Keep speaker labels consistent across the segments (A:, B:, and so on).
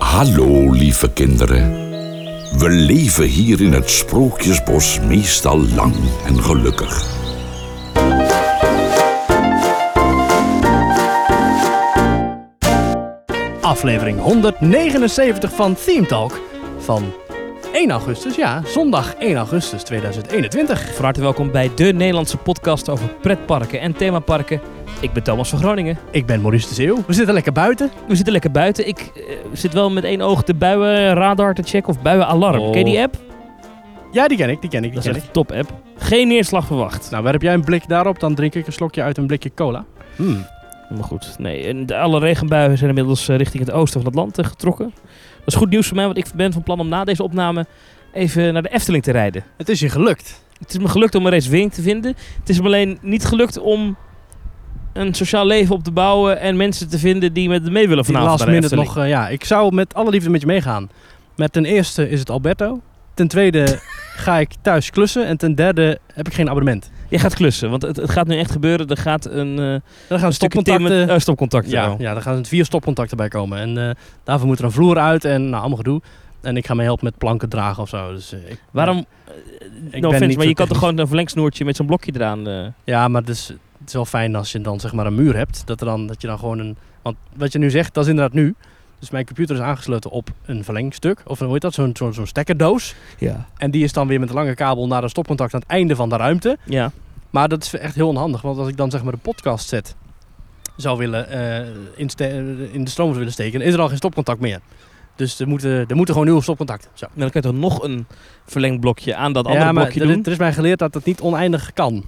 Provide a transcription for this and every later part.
A: Hallo lieve kinderen. We leven hier in het sprookjesbos meestal lang en gelukkig.
B: aflevering 179 van Theme Talk van 1 augustus, ja, zondag 1 augustus 2021.
C: Van harte welkom bij de Nederlandse podcast over pretparken en themaparken. Ik ben Thomas van Groningen.
B: Ik ben Maurice de Zeeuw. We zitten lekker buiten.
C: We zitten lekker buiten. Ik eh, zit wel met één oog de buienradar te checken of buienalarm.
B: Oh.
C: Ken je die app?
B: Ja, die ken ik, die ken ik, die
C: Dat is
B: ken ik.
C: echt een top app. Geen neerslag verwacht.
B: Nou, werp jij een blik daarop, dan drink ik een slokje uit een blikje cola. Hmm.
C: Maar goed, nee. en de- Alle regenbuien zijn inmiddels eh, richting het oosten van het land eh, getrokken. Dat is goed nieuws voor mij, want ik ben van plan om na deze opname even naar de Efteling te rijden.
B: Het is je gelukt.
C: Het is me gelukt om een race winning te vinden. Het is me alleen niet gelukt om een sociaal leven op te bouwen en mensen te vinden die met me mee willen
B: Die
C: vanavond
B: last
C: naar de
B: minute
C: Efteling.
B: nog, eh, ja, ik zou met alle liefde met je meegaan. Maar ten eerste is het Alberto. Ten tweede ga ik thuis klussen. En ten derde heb ik geen abonnement.
C: Je gaat klussen, want het, het gaat nu echt gebeuren. Er gaat een eh
B: Dan gaan we
C: stukje
B: stopcontacten.
C: timmer- eh, stopcontact.
B: Ja,
C: wel.
B: ja, daar gaan er vier stopcontacten bij komen. En eh, daarvoor moet er een vloer uit en nou, allemaal gedoe. En ik ga mee helpen met planken dragen of zo. Dus, eh, ik,
C: Waarom?
B: ben
C: ik no offense,
B: niet
C: maar
B: zo
C: je kan toch
B: technisch.
C: gewoon een verlengsnoertje met zo'n blokje eraan. eh.
B: Ja, maar het is, het is wel fijn als je dan zeg maar een muur hebt. Dat, er dan, dat je dan gewoon een... Want wat je nu zegt, dat is inderdaad nu. Dus mijn computer is aangesloten op een verlengstuk. Of hoe heet dat? Zo'n zo'n zo'n stekkerdoos.
C: ja.
B: En die is dan weer met een lange kabel naar een stopcontact aan het einde van de ruimte.
C: Ja.
B: Maar dat is echt heel onhandig. Want als ik dan zeg maar de podcast set zou willen eh, in, ste- eh, in de stroom zou willen steken, is er al geen stopcontact meer. Dus er moeten, er moeten gewoon nieuwe stopcontacten. Zo.
C: Maar dan kan je toch nog een verlengblokje aan dat andere
B: ja, maar
C: blokje
B: er,
C: doen.
B: er is mij geleerd dat dat niet oneindig kan.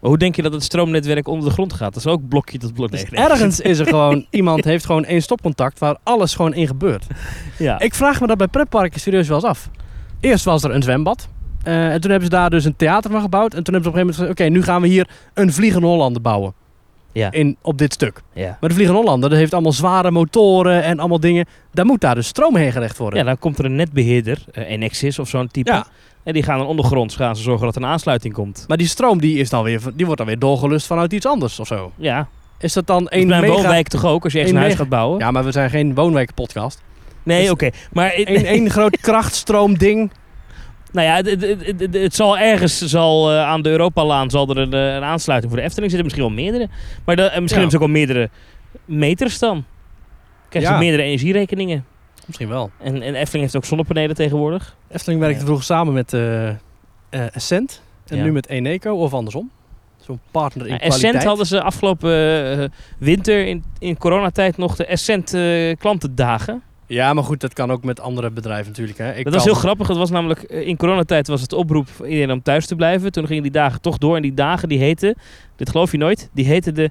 C: Maar hoe denk je dat het stroomnetwerk onder de grond gaat? Dat is ook blokje tot blokje.
B: Dus ergens is er gewoon iemand heeft gewoon één stopcontact waar alles gewoon in gebeurt.
C: Ja.
B: Ik vraag me dat bij pretparken serieus wel eens af. Eerst was er een zwembad. eh, en toen hebben ze daar dus een theater van gebouwd. En toen hebben ze op een gegeven moment gezegd: Oké, nu gaan we hier een Vliegende Hollander bouwen.
C: Ja.
B: In, op dit stuk.
C: ja.
B: Maar de Vliegende Hollander dat heeft allemaal zware motoren en allemaal dingen. Daar moet daar dus stroom heen gerecht worden.
C: ja, dan komt er een netbeheerder, eh, Enexis of zo'n type.
B: Ja.
C: En die gaan dan ondergronds gaan ze zorgen dat er een aansluiting komt.
B: Maar die stroom die is dan weer, die wordt dan weer doorgelust vanuit iets anders of zo.
C: Ja,
B: Is dat dan
C: Eén
B: één mega...
C: woonwijk toch ook, als je echt
B: Eén
C: een huis
B: mega-
C: gaat bouwen?
B: Ja, maar we zijn geen woonwijkpodcast.
C: Nee,
B: Dus-
C: oké. Maar
B: Eén één groot krachtstroomding.
C: Nou ja, het, het, het, het- het zal ergens zal, eh, aan de Europalaan zal er een, eh, een aansluiting voor de Efteling zitten. Misschien wel meerdere. Maar dan- en misschien
B: Ja.
C: hebben ze ook wel meerdere meters dan. Krijg je
B: Ja.
C: meerdere energierekeningen.
B: Misschien wel.
C: En, en Efteling heeft ook zonnepanelen tegenwoordig.
B: Efteling werkte
C: Ja.
B: vroeger samen met eh eh, Essent. En
C: Ja.
B: nu met Eneco of andersom. Zo'n partner in
C: Nou,
B: kwaliteit.
C: Essent hadden ze afgelopen eh, winter in, in coronatijd nog de Essent eh, klantendagen.
B: Ja, maar goed, dat kan ook met andere bedrijven natuurlijk. Hè. Ik
C: dat was
B: kan-
C: heel grappig. Dat was namelijk eh, in coronatijd was het oproep voor iedereen om thuis te blijven. Toen gingen die dagen toch door. En die dagen die heten, dit geloof je nooit, die heten de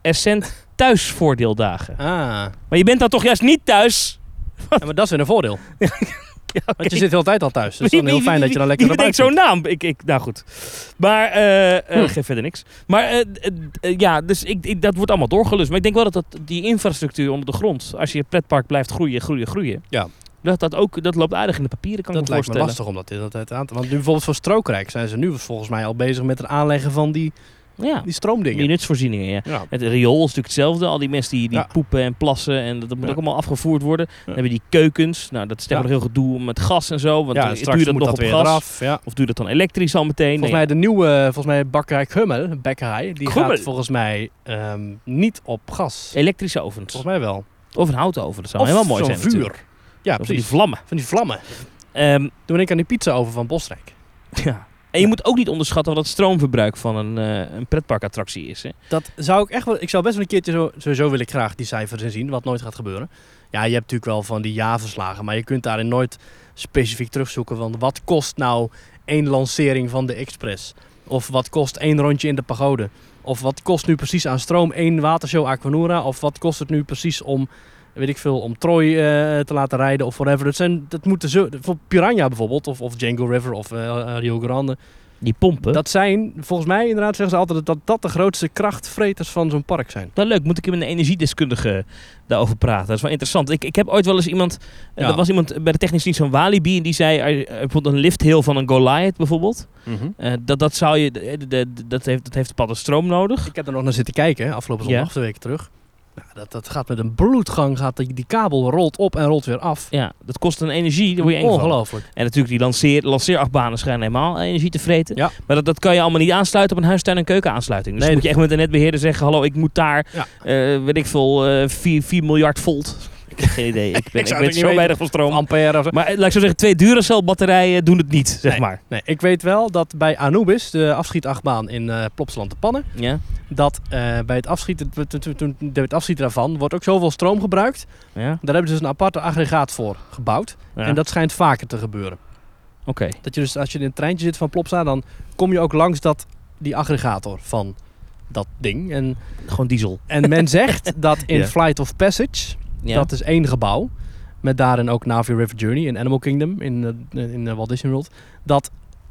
C: Essent thuisvoordeeldagen.
B: Ah,
C: Maar je bent dan toch juist niet thuis?
B: ja, maar dat is weer een voordeel.
C: Ja, oké.
B: Want je zit de hele tijd al thuis. Dus
C: Wie-
B: dan heel
C: wie-
B: fijn
C: wie-
B: dat je dan
C: wie-
B: lekker
C: wie
B: erbij Hm.
C: bedenkt zo'n naam? Ik, ik, nou goed. Maar, eh eh, geef verder niks. Maar, eh, d- d- eh, ja, dus ik, ik- dat wordt allemaal doorgelust. Maar ik denk wel dat, dat die infrastructuur onder de grond, als je pretpark blijft groeien, groeien, groeien.
B: Ja.
C: Dat, dat, ook, dat loopt aardig in de papieren, kan
B: dat
C: ik me
B: lijkt me
C: voorstellen.
B: lastig om dat in dat tijd aan te... Want nu bijvoorbeeld voor Strookrijk zijn ze nu volgens mij al bezig met het aanleggen van die,
C: Ja,
B: die stroomdingen.
C: minuutsvoorzieningen, ja.
B: Ja.
C: Het riool is natuurlijk hetzelfde. Al die mensen die, die
B: Ja.
C: poepen en plassen. En dat, dat moet
B: Ja.
C: ook allemaal afgevoerd worden. Dan hebben die keukens. Nou, dat is tegenwoordig heel gedoe met gas en zo. Want
B: ja,
C: eh,
B: en straks
C: duurt dat
B: moet
C: nog
B: dat
C: op
B: weer
C: gas.
B: eraf. Ja.
C: Of duurt dat dan elektrisch al meteen?
B: Volgens mij de nieuwe, volgens mij Bakkerij Kummel, Bekkerij, die gaat
C: Kummel.
B: volgens mij ehm, niet op gas.
C: Elektrische ovens.
B: Volgens mij wel.
C: Of een houten oven. Dat zou helemaal mooi
B: zo'n
C: zijn.
B: vuur.
C: natuurlijk.
B: Ja,
C: Of die
B: precies.
C: vlammen.
B: Van die vlammen.
C: Ehm,
B: Toen ik aan die pizza over van Bosrijk.
C: ja. En je moet ook niet onderschatten wat het stroomverbruik van een, eh, een pretparkattractie is. Hè?
B: Dat zou ik echt wel... Ik zou best wel een keertje zo... Sowieso wil ik graag die cijfers inzien, wat nooit gaat gebeuren. Ja, je hebt natuurlijk wel van die jaarverslagen, maar je kunt daarin nooit specifiek terugzoeken van wat kost nou één lancering van de Express? Of wat kost één rondje in de pagode? Of wat kost nu precies aan stroom één watershow Aquanura? Of wat kost het nu precies om, weet ik veel, om Troy eh, te laten rijden of whatever? Dat, zijn, dat moeten ze... Voor Piranha bijvoorbeeld, of, of Django River of eh, eh, Rio Grande.
C: Die pompen. Dat...
B: Dat zijn, volgens mij inderdaad zeggen ze altijd dat dat de grootste krachtvreters van zo'n park zijn.
C: Nou leuk, moet ik met een energiedeskundige daarover praten. Dat is wel interessant. Ik, ik heb ooit wel eens iemand... eh,
B: Ja.
C: Er was iemand bij de technische dienst van Walibi... en die zei eh, eh, bijvoorbeeld een lifthill van een Goliath bijvoorbeeld.
B: Mhm.
C: Eh, dat, dat, zou je, de- de- de- dat, heeft, dat heeft de pad een stroom nodig.
B: Ik heb er nog naar zitten kijken, hè, afgelopen zondag,
C: Ja.
B: twee weken terug. Nou, dat, dat gaat met een bloedgang, gaat die, die kabel rolt op en rolt weer af.
C: Ja, dat kost een energie, daar word je eng van.
B: Ongelooflijk.
C: En natuurlijk die lanceer, lanceerachtbanen schijnen helemaal energie te vreten.
B: Ja.
C: Maar dat, dat kan je allemaal niet aansluiten op een huistuin- en keukenaansluiting. Dus
B: Nee,
C: dan moet je echt met een netbeheerder zeggen, hallo, ik moet daar,
B: Ja.
C: eh, weet ik veel, eh 4, miljard volt. Ik heb geen idee, ik ben,
B: zou
C: ik
B: het ook
C: weet
B: niet
C: zo
B: weten.
C: weinig van stroom.
B: Ampère of zo.
C: Maar eh, laat ik zo zeggen, twee Duracell-batterijen doen het niet, zeg maar.
B: Nee, ik weet wel dat bij Anubis, de afschietachtbaan in eh, Plopsland de Pannen,
C: Ja,
B: dat eh, bij, het afschieten, toen- toen- toen- bij het afschieten daarvan wordt ook zoveel stroom gebruikt.
C: ja,
B: Daar hebben ze dus een aparte aggregaat voor gebouwd.
C: ja.
B: En dat schijnt vaker te gebeuren.
C: Oké,
B: Dat je dus als je in een treintje zit van Plopsa, dan kom je ook langs dat, die aggregator van dat ding. En,
C: gewoon diesel.
B: en men zegt dat in
C: Ja.
B: Flight of Passage,
C: Ja.
B: dat is één gebouw, met daarin ook Navi River Journey en Animal Kingdom in, eh, in eh, Walt Disney World, dat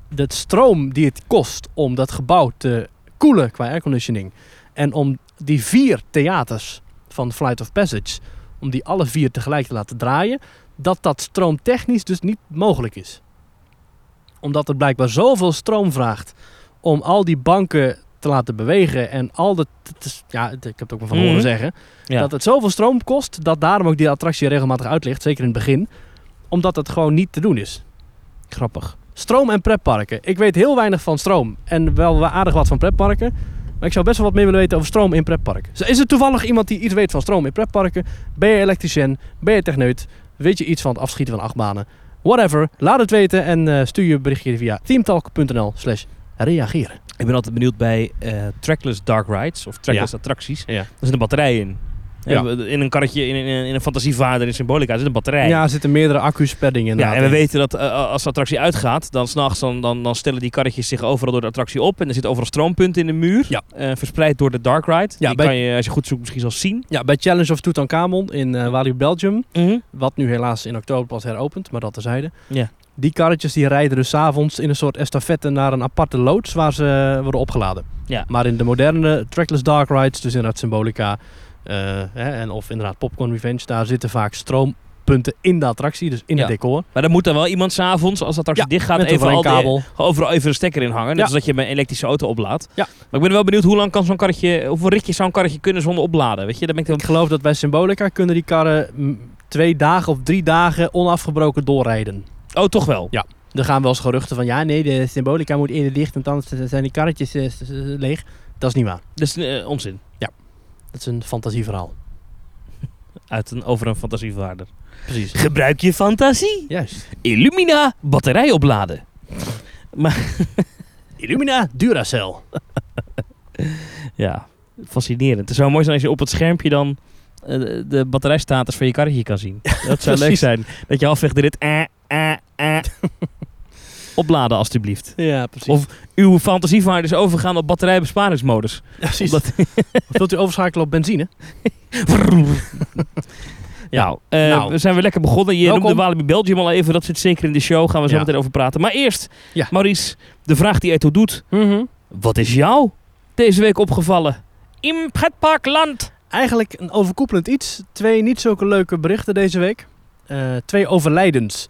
B: de stroom die het kost om dat gebouw te koelen qua airconditioning en om die vier theaters van Flight of Passage, om die alle vier tegelijk te laten draaien, dat dat stroomtechnisch dus niet mogelijk is. Omdat het blijkbaar zoveel stroom vraagt om al die banken te laten bewegen en al dat, het is- ja, het- ik heb het ook maar van horen
C: Mhm.
B: zeggen,
C: Ja.
B: dat het zoveel stroom kost, dat daarom ook die attractie regelmatig uit ligt, zeker in het begin, omdat het gewoon niet te doen is.
C: grappig.
B: Stroom en pretparken. Ik weet heel weinig van stroom en wel wa- aardig wat van pretparken. Maar ik zou best wel wat meer willen weten over stroom in pretparken. Z- Is er toevallig iemand die iets weet van stroom in pretparken? Ben je elektricien? Ben je techneut? Weet je iets van het afschieten van achtbanen? Whatever. Laat het weten en eh, stuur je berichtje via teamtalk.nl slash reageren.
C: Ik ben altijd benieuwd bij eh, trackless dark rides of trackless attracties.
B: Ja.
C: Daar zit een batterij in.
B: Ja.
C: In een karretje, in, in, in een fantasievader, in symbolica zit een batterij.
B: Ja, er zitten meerdere accu's per ding in.
C: Ja, en we weten dat eh, als de attractie uitgaat, dan s'nachts dan, dan, dan stellen die karretjes zich overal door de attractie op. En er zitten overal stroompunten in de muur,
B: Ja.
C: eh, verspreid door de dark ride.
B: Ja,
C: die
B: bij-
C: kan je, als je goed zoekt, misschien zelfs zien.
B: Ja, bij Challenge of Tutankhamon in eh Walibi Belgium, wat nu helaas in oktober pas heropent, maar dat terzijde.
C: Ja.
B: Die karretjes die rijden dus 's avonds in een soort estafette naar een aparte loods waar ze eh, worden opgeladen.
C: Ja.
B: Maar in de moderne trackless dark rides, dus inderdaad Symbolica eh, hè, en of inderdaad Popcorn Revenge, daar zitten vaak stroompunten in de attractie, dus in
C: Ja.
B: het decor.
C: Maar dan moet dan wel iemand s'avonds, als de attractie
B: Ja,
C: dichtgaat,
B: met
C: even
B: een
C: al die-
B: kabel.
C: overal even een stekker in hangen. Net
B: Ja.
C: als dat je mijn elektrische auto oplaadt.
B: Ja.
C: Maar ik ben wel benieuwd hoe lang kan zo'n karretje, hoeveel ritjes zou een karretje kunnen zonder opladen? Weet je, daar ben ik dan...
B: Ik geloof dat bij Symbolica kunnen die karren mm, twee dagen of drie dagen onafgebroken doorrijden.
C: Oh, toch wel.
B: Ja. Er gaan wel eens geruchten van ja, nee, de symbolica moet eerder dicht, want anders zijn die karretjes eh, s- s- leeg. Dat is niet waar.
C: Dat is eh, onzin.
B: Dat is een fantasieverhaal.
C: Uit een, over een fantasievaarder.
B: Precies.
C: Gebruik je fantasie.
B: Juist.
C: Illumina batterij opladen.
B: Illumina Ah, Duracell.
C: Ja, fascinerend. Het zou mooi zijn als je op het schermpje dan eh, de- de batterijstatus van je karretje kan zien. Dat zou leuk
B: Precies.
C: zijn. Dat je halfweg de rit... Eh, eh, eh. Opladen alstublieft.
B: Ja, precies.
C: Of- Uw fantasievaarders overgaan op batterijbesparingsmodus.
B: precies.
C: Omdat-
B: Of wilt u overschakelen op benzine?
C: Nou, eh,
B: Nou.
C: we zijn weer lekker begonnen. Je
B: Welkom.
C: noemde Walibi Belgium al even. Dat zit zeker in de show. Gaan we zo
B: Ja.
C: meteen over praten. Maar eerst,
B: Ja.
C: Maurice, de vraag die Eto doet. Wat is jou deze week opgevallen? In pretparkland.
B: Eigenlijk een overkoepelend iets. Twee niet zulke leuke berichten deze week. Eh, twee overlijdens.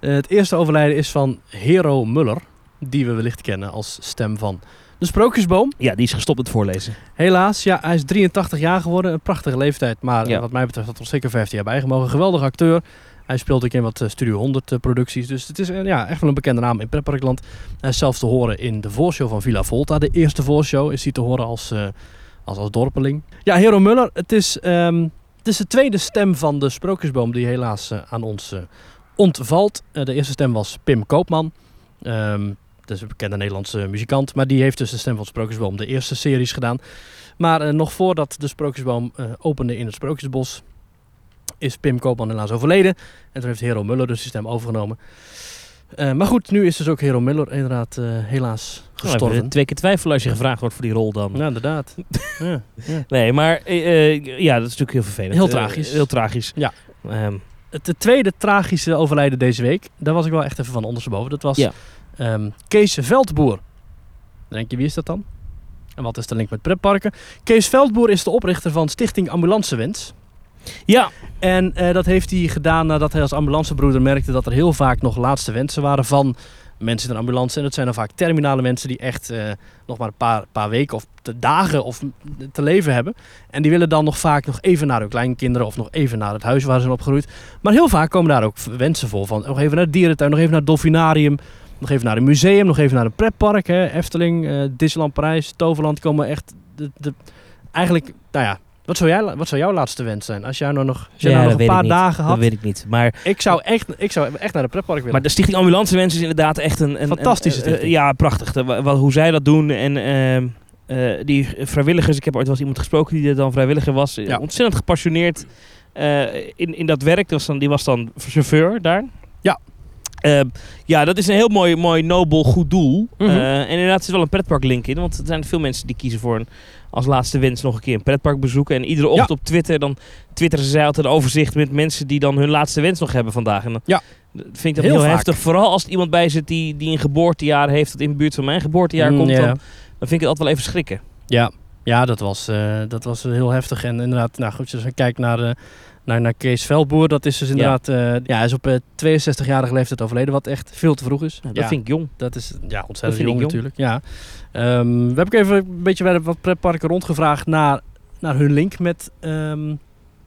B: Eh, het eerste overlijden is van Hero Muller, die we wellicht kennen als stem van de Sprookjesboom.
C: Ja, die is gestopt met voorlezen.
B: Helaas, ja, hij is 83 jaar geworden. Een prachtige leeftijd, maar eh,
C: Ja.
B: wat mij betreft had er nog zeker 15 jaar bijgemogen. Geweldige acteur. Hij speelt ook in wat eh, Studio 100 eh, producties. Dus het is eh, ja, echt wel een bekende naam in pretparkland. Hij is zelfs te horen in de voorshow van Villa Volta. De eerste voorshow is hij te horen als, eh, als, als dorpeling. Ja, Hero Muller, het is, ehm, het is de tweede stem van de Sprookjesboom die helaas eh, aan ons eh, ontvalt. Eh, de eerste stem was Pim Koopman. Ehm, dat is een bekende Nederlandse muzikant. Maar die heeft dus de stem van de Sprookjesboom de eerste series gedaan. Maar eh, nog voordat de Sprookjesboom eh, opende in het Sprookjesbos... is Pim Koopman helaas overleden. En toen heeft Hero Muller dus de stem overgenomen. Eh, maar goed, nu is dus ook Hero Muller inderdaad eh, helaas
C: Nou, even
B: gestorven.
C: twee keer twijfelen als je gevraagd wordt voor die rol dan.
B: Ja, inderdaad. ja. ja.
C: Nee, maar eh, eh, ja, dat is natuurlijk heel vervelend.
B: Heel
C: Eh,
B: tragisch.
C: heel tragisch.
B: Ja.
C: Ehm,
B: Het de tweede tragische overlijden deze week, daar was ik wel echt even van ondersteboven. Dat was
C: Ja.
B: ehm, Kees Veldboer. Dan denk je, wie is dat dan? En wat is de link met pretparken? Kees Veldboer is de oprichter van Stichting Ambulancewens.
C: ja,
B: En eh, dat heeft hij gedaan nadat hij als ambulancebroeder merkte dat er heel vaak nog laatste wensen waren van mensen in een ambulance. En dat zijn dan vaak terminale mensen die echt eh, nog maar een paar, paar weken of te dagen of te leven hebben. En die willen dan nog vaak nog even naar hun kleinkinderen of nog even naar het huis waar ze zijn opgegroeid. Maar heel vaak komen daar ook wensen voor van nog even naar het dierentuin, nog even naar het dolfinarium. Nog even naar een museum, nog even naar een pretpark. Hè. Efteling, eh, Disneyland Parijs, Toverland komen echt... De, de, eigenlijk, nou ja, wat zou, jij, wat zou jouw laatste wens zijn? Als jij nou nog, als jij
C: Ja,
B: nou
C: dat
B: nog een
C: weet
B: paar
C: ik niet.
B: dagen
C: Dat
B: had...
C: weet ik niet. Maar,
B: Ik zou, echt, ik zou echt naar een pretpark willen.
C: maar de Stichting Ambulance Mensen is inderdaad echt een... een
B: Fantastische
C: een-
B: stichting.
C: eh, ja, prachtig. De- wa- wa- hoe zij dat doen en... ehm, eh, die vrijwilligers, ik heb ooit wel eens iemand gesproken die er dan vrijwilliger was. eh,
B: Ja.
C: Ontzettend gepassioneerd eh, in, in dat werk. Dat was dan, die was dan chauffeur daar.
B: Ja.
C: Ehm, ja, dat is een heel mooi, mooi nobel, goed doel.
B: Mhm.
C: Eh, en inderdaad er zit wel een pretparklink in. Want er zijn veel mensen die kiezen voor een, als laatste wens nog een keer een pretpark bezoeken. En iedere ochtend op Twitter dan twitteren zij altijd een overzicht met mensen die dan hun laatste wens nog hebben vandaag. En dan
B: Ja.
C: dat vind ik dat
B: Heel
C: heel,
B: vaak.
C: heftig. Vooral als er iemand bij zit die, die een geboortejaar heeft dat in de buurt van mijn geboortejaar
B: Mm,
C: komt.
B: ja.
C: Dan, dan vind ik het altijd wel even schrikken.
B: Ja, ja dat, was, eh, dat was heel heftig. En inderdaad, nou goed, als je kijkt naar, eh, naar, naar Kees Veldboer, dat is dus inderdaad, eh, ja. hij is op eh, 62-jarige leeftijd overleden, wat echt veel te vroeg is.
C: Nou,
B: Ja.
C: Dat vind ik jong.
B: Dat is ja,
C: Dat
B: ontzettend
C: vind
B: jong,
C: ik jong.
B: natuurlijk. Ja. Ehm, we hebben ook even een beetje bij de wat pretparken rondgevraagd naar, naar hun link met, ehm,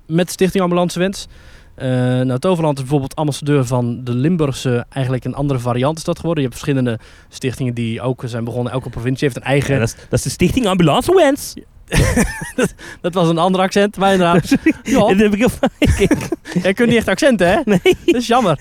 B: met Stichting Ambulance Wens. Eh, nou, Toverland is bijvoorbeeld ambassadeur van de Limburgse, eigenlijk een andere variant is dat geworden. Je hebt verschillende stichtingen die ook zijn begonnen. Elke provincie heeft een eigen.
C: Ja, dat, is, dat is de Stichting Ambulance Wens.
B: Dat was een ander accent, maar inderdaad. Ja,
C: Dat heb ik heel vaak.
B: Jij kunt niet echt accenten, hè?
C: Nee.
B: Dat is jammer.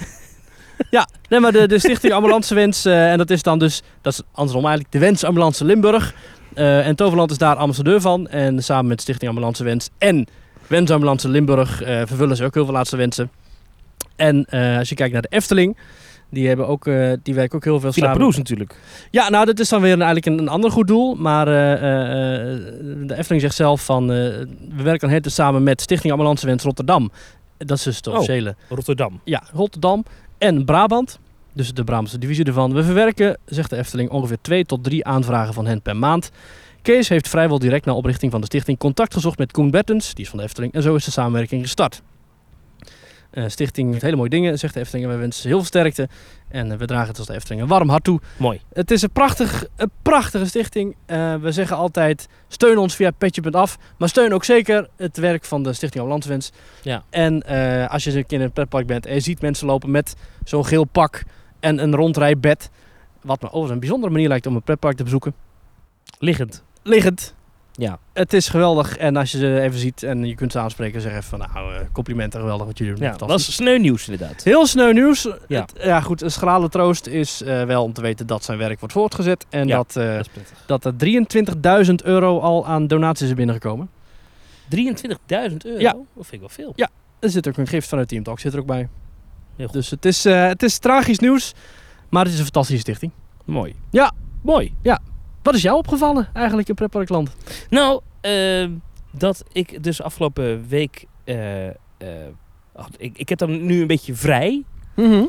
B: Ja, nee, maar de, de Stichting Ambulance Wens, eh, en dat is dan dus, dat is andersom eigenlijk, de Wens Ambulance Limburg. Eh, en Toverland is daar ambassadeur van. En samen met Stichting Ambulance Wens en Wens Ambulance Limburg eh, vervullen ze ook heel veel laatste wensen. En eh, als je kijkt naar de Efteling, die, hebben ook, eh, die werken ook heel veel
C: Villa
B: samen.
C: Proes natuurlijk.
B: Ja, nou, dat is dan weer een- eigenlijk een, een ander goed doel. Maar eh, eh, eh, de Efteling zegt zelf van... eh, we werken aan het samen met Stichting Ambulance Wens Rotterdam. Dat is dus de
C: Oh.
B: officiële.
C: Rotterdam.
B: Ja, Rotterdam en Brabant. Dus de Brabantse divisie ervan. We verwerken, zegt de Efteling, ongeveer twee tot drie aanvragen van hen per maand. Kees heeft vrijwel direct na oprichting van de stichting contact gezocht met Koen Bertens, die is van de Efteling, en zo is de samenwerking gestart. Eh, stichting heeft hele mooie dingen, zegt de Efteling, en wij wensen ze heel veel sterkte. En eh, we dragen het als de Efteling een warm hart toe.
C: Mooi.
B: Het is een, prachtig, een prachtige stichting. Eh, we zeggen altijd, steun ons via petje.af. Maar steun ook zeker het werk van de Stichting Ambulancewens.
C: Ja.
B: En eh, als je eens een keer in een pretpark bent en je ziet mensen lopen met zo'n geel pak en een rondrijbed. Wat me overigens een bijzondere manier lijkt om een pretpark te bezoeken.
C: Liggend.
B: Liggend.
C: Ja.
B: Het is geweldig. En als je ze even ziet en je kunt ze aanspreken, zeg even van nou, eh, complimenten, geweldig wat jullie doen.
C: Ja,
B: Fantastisch.
C: dat is sneu nieuws inderdaad.
B: Heel sneu nieuws.
C: Ja.
B: Het- ja goed, een schrale troost is eh, wel om te weten dat zijn werk wordt voortgezet. En
C: Ja.
B: dat, eh,
C: Dat is prettig.
B: dat er 23.000 euro al aan donaties is binnengekomen.
C: 23.000 euro?
B: Ja.
C: Dat vind ik wel veel.
B: Er zit ook een gift vanuit Team Talk zit er ook bij.
C: Heel goed.
B: Dus het is, eh, het is tragisch nieuws, maar het is een fantastische stichting.
C: Mooi.
B: Ja.
C: Mooi.
B: Wat is jou opgevallen eigenlijk in Pretparkland?
C: Nou, ehm, dat ik dus afgelopen week... eh, eh, had- ik, ik heb dan nu een beetje vrij.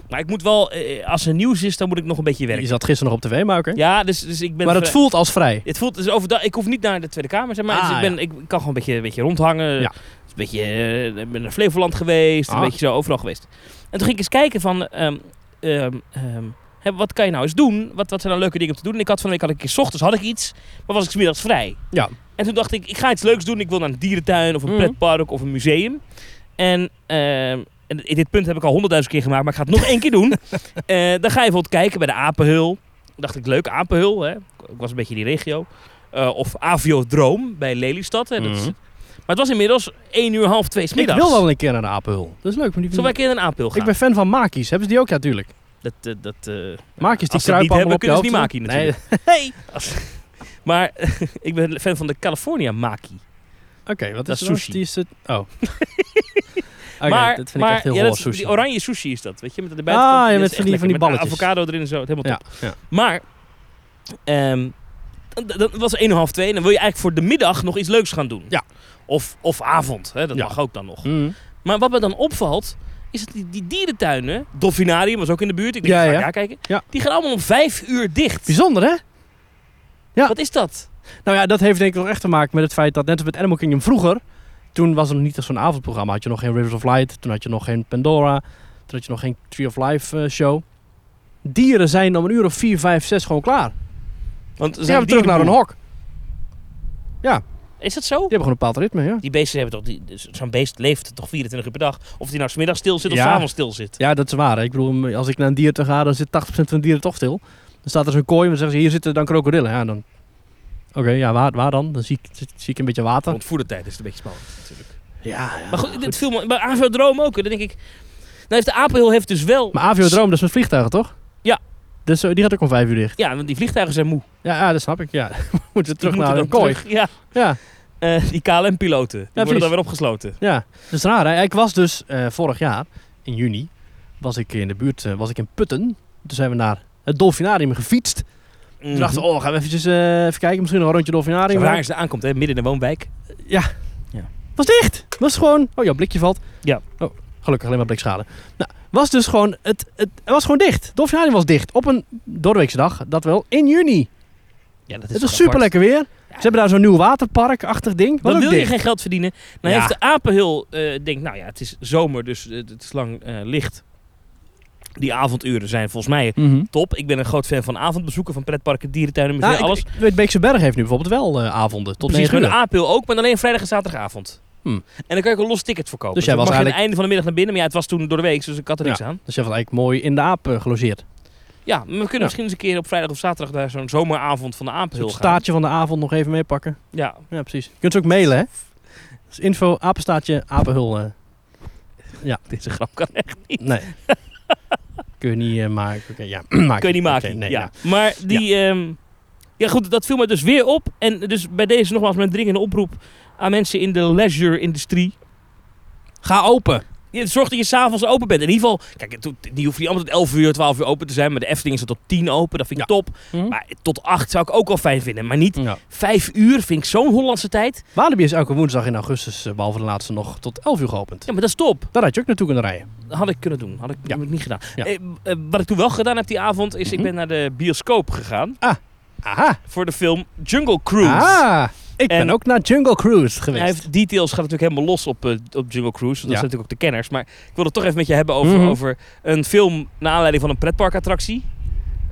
C: Maar ik moet wel... eh, als er nieuws is, dan moet ik nog een beetje
B: Je
C: werken.
B: zat gisteren nog op tv, maar oké.
C: Ja, dus, dus ik ben...
B: maar het
C: vrij-
B: voelt als vrij.
C: Het voelt dus overdag. Ik hoef niet naar de Tweede Kamer. Zeg maar
B: Ah,
C: Dus ik, ben, ik kan gewoon een beetje, een beetje rondhangen.
B: Ja.
C: Een beetje, eh, ik ben naar Flevoland geweest.
B: Ah.
C: Een beetje zo overal geweest. En toen ging ik eens kijken van. ehm, ehm, ehm, hè, wat kan je nou eens doen? Wat, wat zijn nou leuke dingen om te doen? En ik had van de week had ik een keer 's ochtends had ik iets, maar was ik 's middags vrij.
B: Ja.
C: En toen dacht ik, ik ga iets leuks doen. Ik wil naar een dierentuin of een
B: Mhm.
C: pretpark of een museum. En, ehm, en in dit punt heb ik al honderdduizend keer gemaakt, maar ik ga het nog één keer doen. Eh, dan ga je bijvoorbeeld kijken bij de Apenhul. Dacht ik, leuk, Apenhul. Hè? Ik was een beetje in die regio. Eh, of Aviodroom bij Lelystad. Hè? Dat is-
B: Mhm.
C: Maar het was inmiddels 1 uur, half 2
B: Ik
C: middags.
B: wil wel een keer naar de Apenhul. Dat is leuk. Maar die
C: Zullen wij een keer naar een Apenhul gaan?
B: ik ben fan van Makies. Hebben ze die ook? Ja, natuurlijk.
C: Dat, eh, dat, eh,
B: Makies die
C: Als ze
B: kruipen
C: het niet
B: allemaal
C: hebben,
B: op je
C: kunnen ze niet
B: hoofd.
C: Maki
B: Nee,
C: natuurlijk. Hey! Als- maar ik ben fan van de California Maki.
B: Oké, wat
C: Dat
B: is
C: is
B: dan?
C: sushi.
B: Die is het... Oh. Oké,
C: maar,
B: dat vind
C: maar,
B: ik echt heel
C: ja,
B: hoor,
C: dat is-
B: sushi.
C: Die oranje sushi is dat, weet je? Met de
B: Ah, ja,
C: dat is
B: met
C: echt
B: van die- van die
C: lekker. Met
B: balletjes.
C: avocado erin en zo, helemaal
B: Ja,
C: top.
B: ja.
C: Maar, ehm, d- d- dat was 1 half 2. En dan wil je eigenlijk voor de middag nog iets leuks gaan doen.
B: Ja.
C: Of, of avond, hè? dat
B: Ja.
C: mag ook dan nog.
B: Mhm.
C: Maar wat me dan opvalt, is dat die, die dierentuinen... Dolfinarium was ook in de buurt, ik denk,
B: Ja,
C: ja, ga
B: ja.
C: ik daar kijken.
B: Ja.
C: Die gaan allemaal om 5 uur dicht.
B: Bijzonder, hè? ja.
C: Wat is dat?
B: Nou ja, dat heeft denk ik nog echt te maken met het feit dat net als met Animal Kingdom vroeger, toen was er nog niet echt zo'n avondprogramma. Had je nog geen Rivers of Light, toen had je nog geen Pandora, toen had je nog geen Tree of Life eh, show. dieren zijn om een uur of 4, 5, 6 gewoon klaar.
C: Want
B: Ze gaan we
C: die-
B: terug naar een hok. Die
C: Is dat zo?
B: hebben gewoon een bepaald ritme, ja.
C: Die beesten hebben toch... die- dus Zo'n beest leeft toch 24 uur per dag. Of die nou smiddag stil zit of
B: Ja.
C: s'avonds stil zit.
B: Ja, dat is waar. hè. Ik bedoel, als ik naar een dier te ga, dan zit 80% van de dieren toch stil. Dan staat er zo'n kooi en dan zeggen ze, hier zitten dan krokodillen. Ja, dan... Oké, ja, waar, waar dan? Dan zie ik, zie, zie ik een beetje water.
C: Want voedertijd is het een beetje spannend natuurlijk.
B: Ja, ja.
C: Maar goed, dit viel me... Bij Aviodroom ook. hè. Dan denk ik... Nou heeft de Apenhul heeft dus wel...
B: Maar Aviodroom, dat is met vliegtuigen, toch?
C: Ja.
B: Dus eh, die gaat ook om vijf uur dicht.
C: Ja, want die vliegtuigen zijn moe. Die
B: Ja, ja dat snap ik. Ja. Moeten ze terug
C: moeten
B: naar
C: dan
B: een kooi.
C: terug. Ja.
B: Ja,
C: Eh, die KLM-piloten. Die worden
B: precies.
C: dan weer opgesloten.
B: ja. Dat is raar. Hè? Ik was dus eh, vorig jaar, in juni, was ik in de buurt, eh, was ik in Putten. Toen zijn we naar het Dolfinarium gefietst. Toen dachten
C: Mhm.
B: we, oh, gaan we eventjes, eh, even kijken. Misschien nog een rondje Dolfinarium.
C: Waar is de aankomt, hè? midden in de woonwijk.
B: Was dicht. Was gewoon. Oh, jouw blikje valt.
C: Ja.
B: Oh, gelukkig alleen maar blikschade. Nou, was dus gewoon. Het, het, het was gewoon dicht. Dolfinarium was dicht. Op een doordeweekse dag, dat wel, in juni.
C: Ja, dat
B: Het was super lekker weer. Ze hebben daar zo'n nieuw waterpark-achtig ding. Was
C: Dan
B: ook
C: wil je
B: dicht.
C: geen geld verdienen. Dan
B: Ja.
C: heeft de Apenhul, eh denkt, nou ja, het is zomer, dus eh, het is lang eh, licht. Die avonduren zijn volgens mij
B: Mhm.
C: top. Ik ben een groot fan van avondbezoeken, van pretparken, dierentuinen, musea,
B: Nou, ik-
C: alles.
B: ik weet, Beekse Berg heeft nu bijvoorbeeld wel eh, avonden tot
C: Precies,
B: 9
C: met de
B: uur.
C: Apenhul ook, maar alleen vrijdag en zaterdagavond.
B: Hmm.
C: En dan kan ik een los ticket verkopen.
B: Dus jij
C: dan
B: was
C: mag
B: eigenlijk-
C: je aan het einde van de middag naar binnen. Maar ja, het was toen door de week, dus ik had er niks aan.
B: Dus je was eigenlijk mooi in de aap eh, gelogeerd.
C: Ja, maar we kunnen
B: Ja.
C: misschien eens een keer op vrijdag of zaterdag naar zo'n zomeravond van de Apenhul
B: Dus Het
C: gaan.
B: staartje van de avond nog even meepakken.
C: Ja,
B: Ja, precies. Je kunt ze ook mailen, hè? Dat is info, apenstaartje, apenhul. eh.
C: deze grap kan echt niet.
B: Nee. Kun je niet eh, maken. Oké, ja, maak
C: Kun je niet maken.
B: Oké, nee,
C: ja. Maar die. Ja. ja, goed, dat viel me dus weer op. En dus bij deze nogmaals mijn dringende oproep aan mensen in de leisure-industrie.
B: Ga open.
C: Ja, Zorg dat je s'avonds open bent. In ieder geval, kijk, het hoeft- die hoeft niet allemaal tot 11 uur, 12 uur open te zijn. Maar de Efteling is er tot 10 open. Dat vind ik top.
B: Mhm.
C: Maar tot 8 zou ik ook wel fijn vinden. Maar niet
B: Ja.
C: 5 uur vind ik zo'n Hollandse tijd.
B: Walibi is elke woensdag in augustus, eh, behalve de laatste nog, tot 11 uur geopend.
C: Ja, maar dat is top.
B: Daar had je ook naartoe kunnen rijden.
C: Dat had ik kunnen doen. Had ik
B: Ja.
C: heb ik niet gedaan.
B: Ja.
C: Eh, eh, wat ik toen wel gedaan heb die avond, is ik
B: Mhm.
C: ben naar de bioscoop gegaan.
B: Aha.
C: Voor de film Jungle Cruise.
B: Ah, ik
C: En-
B: ben ook naar Jungle Cruise
C: Hij
B: geweest.
C: heeft details gaat natuurlijk helemaal los op, eh, op Jungle Cruise. Want dat
B: Ja.
C: zijn natuurlijk ook de kenners. Maar ik wil het toch even met je hebben over,
B: Mhm.
C: over een film naar aanleiding van een pretparkattractie.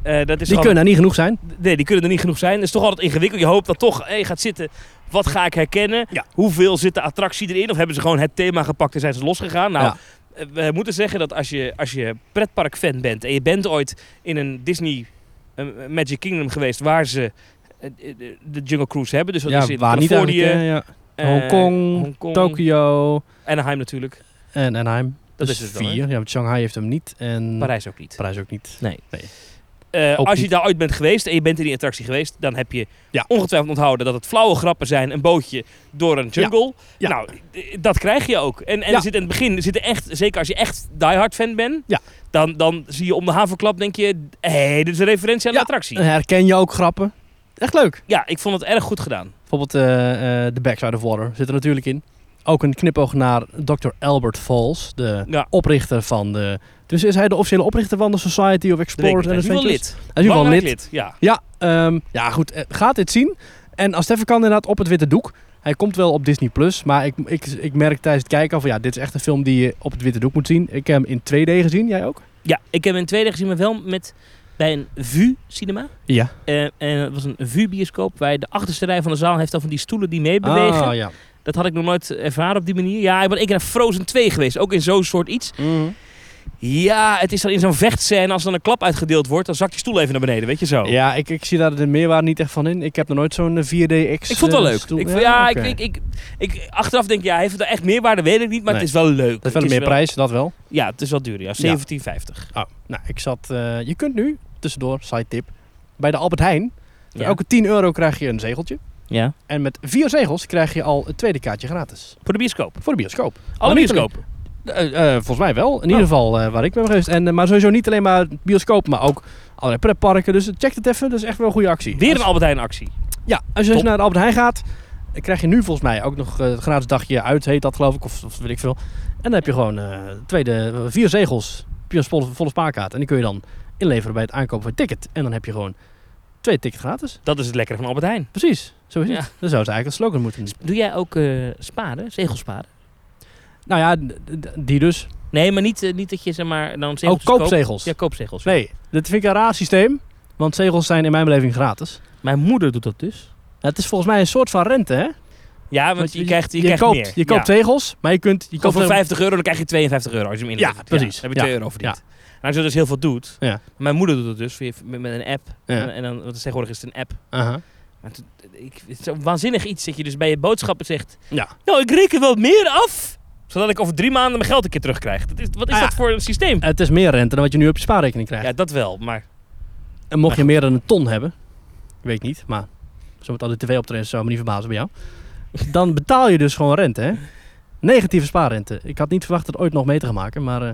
C: Eh, dat is
B: Die
C: gewoon-
B: kunnen er niet genoeg zijn.
C: Nee, die kunnen er niet genoeg zijn. Dat is toch altijd ingewikkeld. Je hoopt dat toch, hé, je gaat zitten. Wat ga ik herkennen?
B: Ja.
C: Hoeveel zit de attractie erin? Of hebben ze gewoon het thema gepakt en zijn ze losgegaan? Nou,
B: Ja.
C: eh, we moeten zeggen dat als je, als je pretparkfan bent... en je bent ooit in een Disney eh, Magic Kingdom geweest... waar ze eh, eh, de Jungle Cruise hebben. Dus dat is in Californië,
B: eigenlijk, eh, ja.
C: eh,
B: Hongkong,
C: Hongkong,
B: Tokio
C: Anaheim natuurlijk.
B: en Anaheim.
C: Dat
B: Dat is
C: is het dan, hè?
B: vier. Ja, want Shanghai heeft hem niet en
C: Parijs ook niet.
B: Parijs ook niet.
C: Eh,
B: ook
C: als je
B: niet.
C: daar ooit bent geweest en je bent in die attractie geweest, dan heb je
B: Ja.
C: ongetwijfeld onthouden dat het flauwe grappen zijn. Een bootje door een jungle.
B: Ja.
C: Nou, eh, dat krijg je ook. En, en
B: Ja.
C: er zit in het begin, er zitten echt, zeker als je echt diehard fan bent,
B: Ja.
C: dan, dan zie je om de havenklap, denk je, hé, hey, dit is een referentie aan
B: Ja.
C: de attractie.
B: En herken je ook grappen. Echt leuk.
C: Ja, ik vond het erg goed gedaan.
B: Bijvoorbeeld eh, eh, The Backside of Water zit er natuurlijk in. Ook een knipoog naar Dr. Albert Falls, de
C: Ja.
B: oprichter van de... Dus is hij de officiële oprichter van de Society of
C: Dat weet ik
B: Explorers
C: niet. Hij
B: and
C: is nu wel
B: Adventures?
C: lid.
B: Hij is nu wel
C: Belangrijk
B: lid.
C: lid. Ja.
B: Ja, ehm, ja goed. eh, Gaat dit zien. En als het even kan, inderdaad, op het witte doek. Hij komt wel op Disney+, Plus, maar ik, ik, ik merk tijdens het kijken al van... Ja, dit is echt een film die je op het witte doek moet zien. Ik heb hem in 2D gezien. Jij ook?
C: ja, ik heb hem in tweede gezien, maar wel met, bij een VU-cinema.
B: Ja.
C: en het was een VU-bioscoop waar de achterste rij van de zaal heeft al van die stoelen die meebewegen.
B: Ah, ja.
C: Dat had ik nog nooit ervaren op die manier. Ja, ik ben één keer naar Frozen 2 geweest. Ook in zo'n soort iets. Ja, het is dan in zo'n vechtscène. Als er dan een klap uitgedeeld wordt, dan zakt die stoel even naar beneden. Weet je zo.
B: Ja, ik, ik zie daar de meerwaarde niet echt van in. Ik heb nog nooit zo'n eh, 4DX...
C: Ik vond het wel
B: eh,
C: leuk.
B: stoel-
C: Ik, vond- ja,
B: oké.
C: ik, ik, ik, ik- achteraf denk ik, ja, heeft het er echt meerwaarde? Weet ik niet, maar het
B: Nee.
C: is wel leuk.
B: Dat is wel een
C: Het
B: meerprijs, dat wel.
C: Ja, het is wel duur. Ja, 17,50.
B: Oh, nou, ik zat... eh, je kunt nu, tussendoor, side tip, bij de Albert Heijn... Voor
C: Ja.
B: elke 10 euro krijg je een zegeltje.
C: Ja.
B: En met vier zegels krijg je al het tweede kaartje gratis.
C: Voor de bioscoop.
B: Voor de bioscoop.
C: Alle Nou.
B: Maar niet alleen-
C: bioscopen.
B: Eh, eh, volgens mij wel. In ieder geval eh, waar ik ben geweest. En, eh, maar sowieso niet alleen maar bioscoop, maar ook allerlei pretparken. Dus check het even. Dat is echt wel een goede actie.
C: Weer een
B: Als-
C: Albert Heijn actie.
B: ja, als je dus
C: Top.
B: naar de Albert Heijn gaat, dan krijg je nu volgens mij ook nog eh, het gratis dagje uit, heet dat geloof ik. Of, of weet ik veel. En dan heb je gewoon eh, tweede, vier zegels. Heb je een volle, volle spaarkaart. En die kun je dan inleveren bij het aankopen van je ticket. En dan heb je gewoon twee tickets gratis.
C: Dat is het lekkere van Albert Heijn.
B: Precies. Zo is het.
C: Ja.
B: Dan zou ze eigenlijk een slogan moeten doen.
C: Doe jij ook eh sparen? Zegelsparen?
B: Nou ja, d- d- die dus.
C: Nee, maar niet, eh, niet dat je zeg maar dan
B: Ook
C: zegels koopt.
B: Oh, koopzegels.
C: Ja, koopzegels.
B: Nee, dat vind ik een raar systeem. Want zegels zijn in mijn beleving gratis.
C: Mijn moeder doet dat dus.
B: Nou, het is volgens mij een soort van rente, hè?
C: Ja, want, je, krijgt, je, krijgt
B: koopt,
C: meer.
B: Je koopt zegels, maar je kunt... Je
C: Je koopt
B: koopt
C: voor 50 euro, dan krijg je 52 euro als je hem
B: Ja,
C: inlevert.
B: precies.
C: dan heb je 2
B: Ja.
C: euro verdiend. En als je dat dus heel veel doet.
B: Ja.
C: Mijn moeder doet dat dus via- met, met een app.
B: Ja.
C: En, en dan, want tegenwoordig is het een app.
B: Aha.
C: Maar toen- ik, het is zo'n waanzinnig iets dat je dus bij je boodschappen zegt...
B: Ja.
C: Nou, ik reken wel meer af, zodat ik over drie maanden mijn geld een keer terugkrijg. Dat is, wat is
B: Ah ja.
C: dat voor een systeem?
B: Het is meer rente dan wat je nu op je spaarrekening krijgt.
C: Ja, dat wel, maar...
B: En mocht je meer dan een ton hebben, weet ik niet, maar zo met al die tv-optredens zou me niet verbazen bij jou. Dan betaal je dus gewoon rente, hè? Negatieve spaarrente. Ik had niet verwacht het ooit nog mee te gaan maken, maar... eh,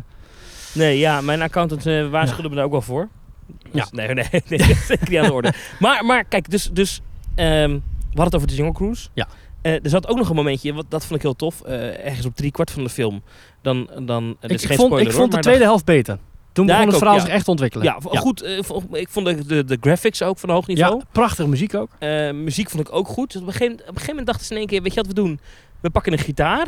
C: Nee, ja, mijn accountant eh waarschuwde me daar ook wel voor. Dus, Nee, nee, nee, dat is zeker niet aan de orde. Maar, maar kijk, dus, dus ehm, we hadden het over de Jungle Cruise.
B: Ja.
C: Eh, er zat ook nog een momentje, in, wat, dat vond ik heel tof. eh, ergens op drie kwart van de film. Dan, dan, eh, dit
B: ik,
C: is
B: ik
C: geen
B: vond,
C: spoiler,
B: ik
C: hoor,
B: vond de
C: maar
B: tweede helft beter. Toen
C: Ja,
B: begon
C: ik
B: het
C: ook,
B: verhaal
C: ja.
B: zich echt te
C: dan-
B: ontwikkelen.
C: ja, v- goed. eh, v- ik vond de, de, de graphics ook van hoog niveau.
B: Ja, prachtige muziek ook.
C: Eh, muziek vond ik ook goed. Dus op, een gegeven, op een gegeven moment dachten ze in één keer, weet je wat we doen? We pakken een gitaar.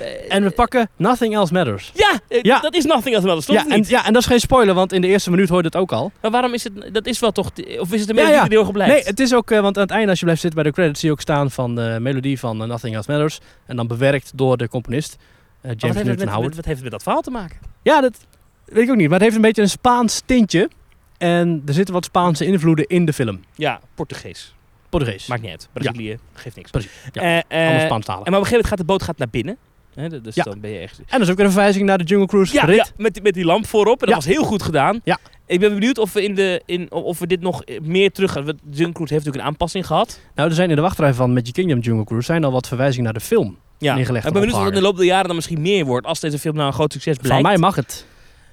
C: Eh,
B: En we pakken Nothing Else Matters.
C: ja, eh,
B: Ja.
C: dat is Nothing Else Matters, stond
B: Ja
C: het
B: en,
C: niet?
B: ja, en dat is geen spoiler, want in de eerste minuut hoor je dat ook al.
C: Maar waarom is het, dat is wel toch, de- of is het een
B: Ja,
C: melodie
B: ja.
C: die er heel erg op lijkt?
B: Nee, het is ook, eh, want aan het einde als je blijft zitten bij de credits, zie je ook staan van de melodie van eh, Nothing Else Matters. En dan bewerkt door de componist, eh,
C: Maar
B: James
C: wat, heeft het
B: Newton
C: met,
B: Howard.
C: met- wat heeft het met dat verhaal te maken?
B: Ja, dat weet ik ook niet. Maar het heeft een beetje een Spaans tintje. En er zitten wat Spaanse invloeden in de film.
C: Ja, Portugees.
B: Portugees. Maar
C: Maakt niet uit. Brazilië geeft niks.
B: Precies, ja.
C: Eh, eh,
B: allemaal
C: en maar op
B: Spaans talen.
C: een gegeven moment gaat de boot gaat naar binnen. Hè, d- dus
B: Ja.
C: dan ben je echt...
B: En dat is ook weer een verwijzing naar de Jungle Cruise
C: Ja,
B: rit.
C: ja, met, die- met die lamp voorop. En dat
B: Ja.
C: was heel goed gedaan.
B: Ja.
C: Ik ben benieuwd of we, in de, in, of we dit nog eh, meer terug gaan. Want Jungle Cruise heeft natuurlijk een aanpassing gehad.
B: Nou, er zijn in de wachtrij van Magic Kingdom Jungle Cruise zijn al wat verwijzingen naar de film.
C: ja.
B: neergelegd
C: Ik
B: en
C: ben benieuwd of dat in
B: opgehangen.
C: de loop der jaren dan misschien meer wordt. Als deze film nou een groot succes blijkt.
B: Van mij mag het.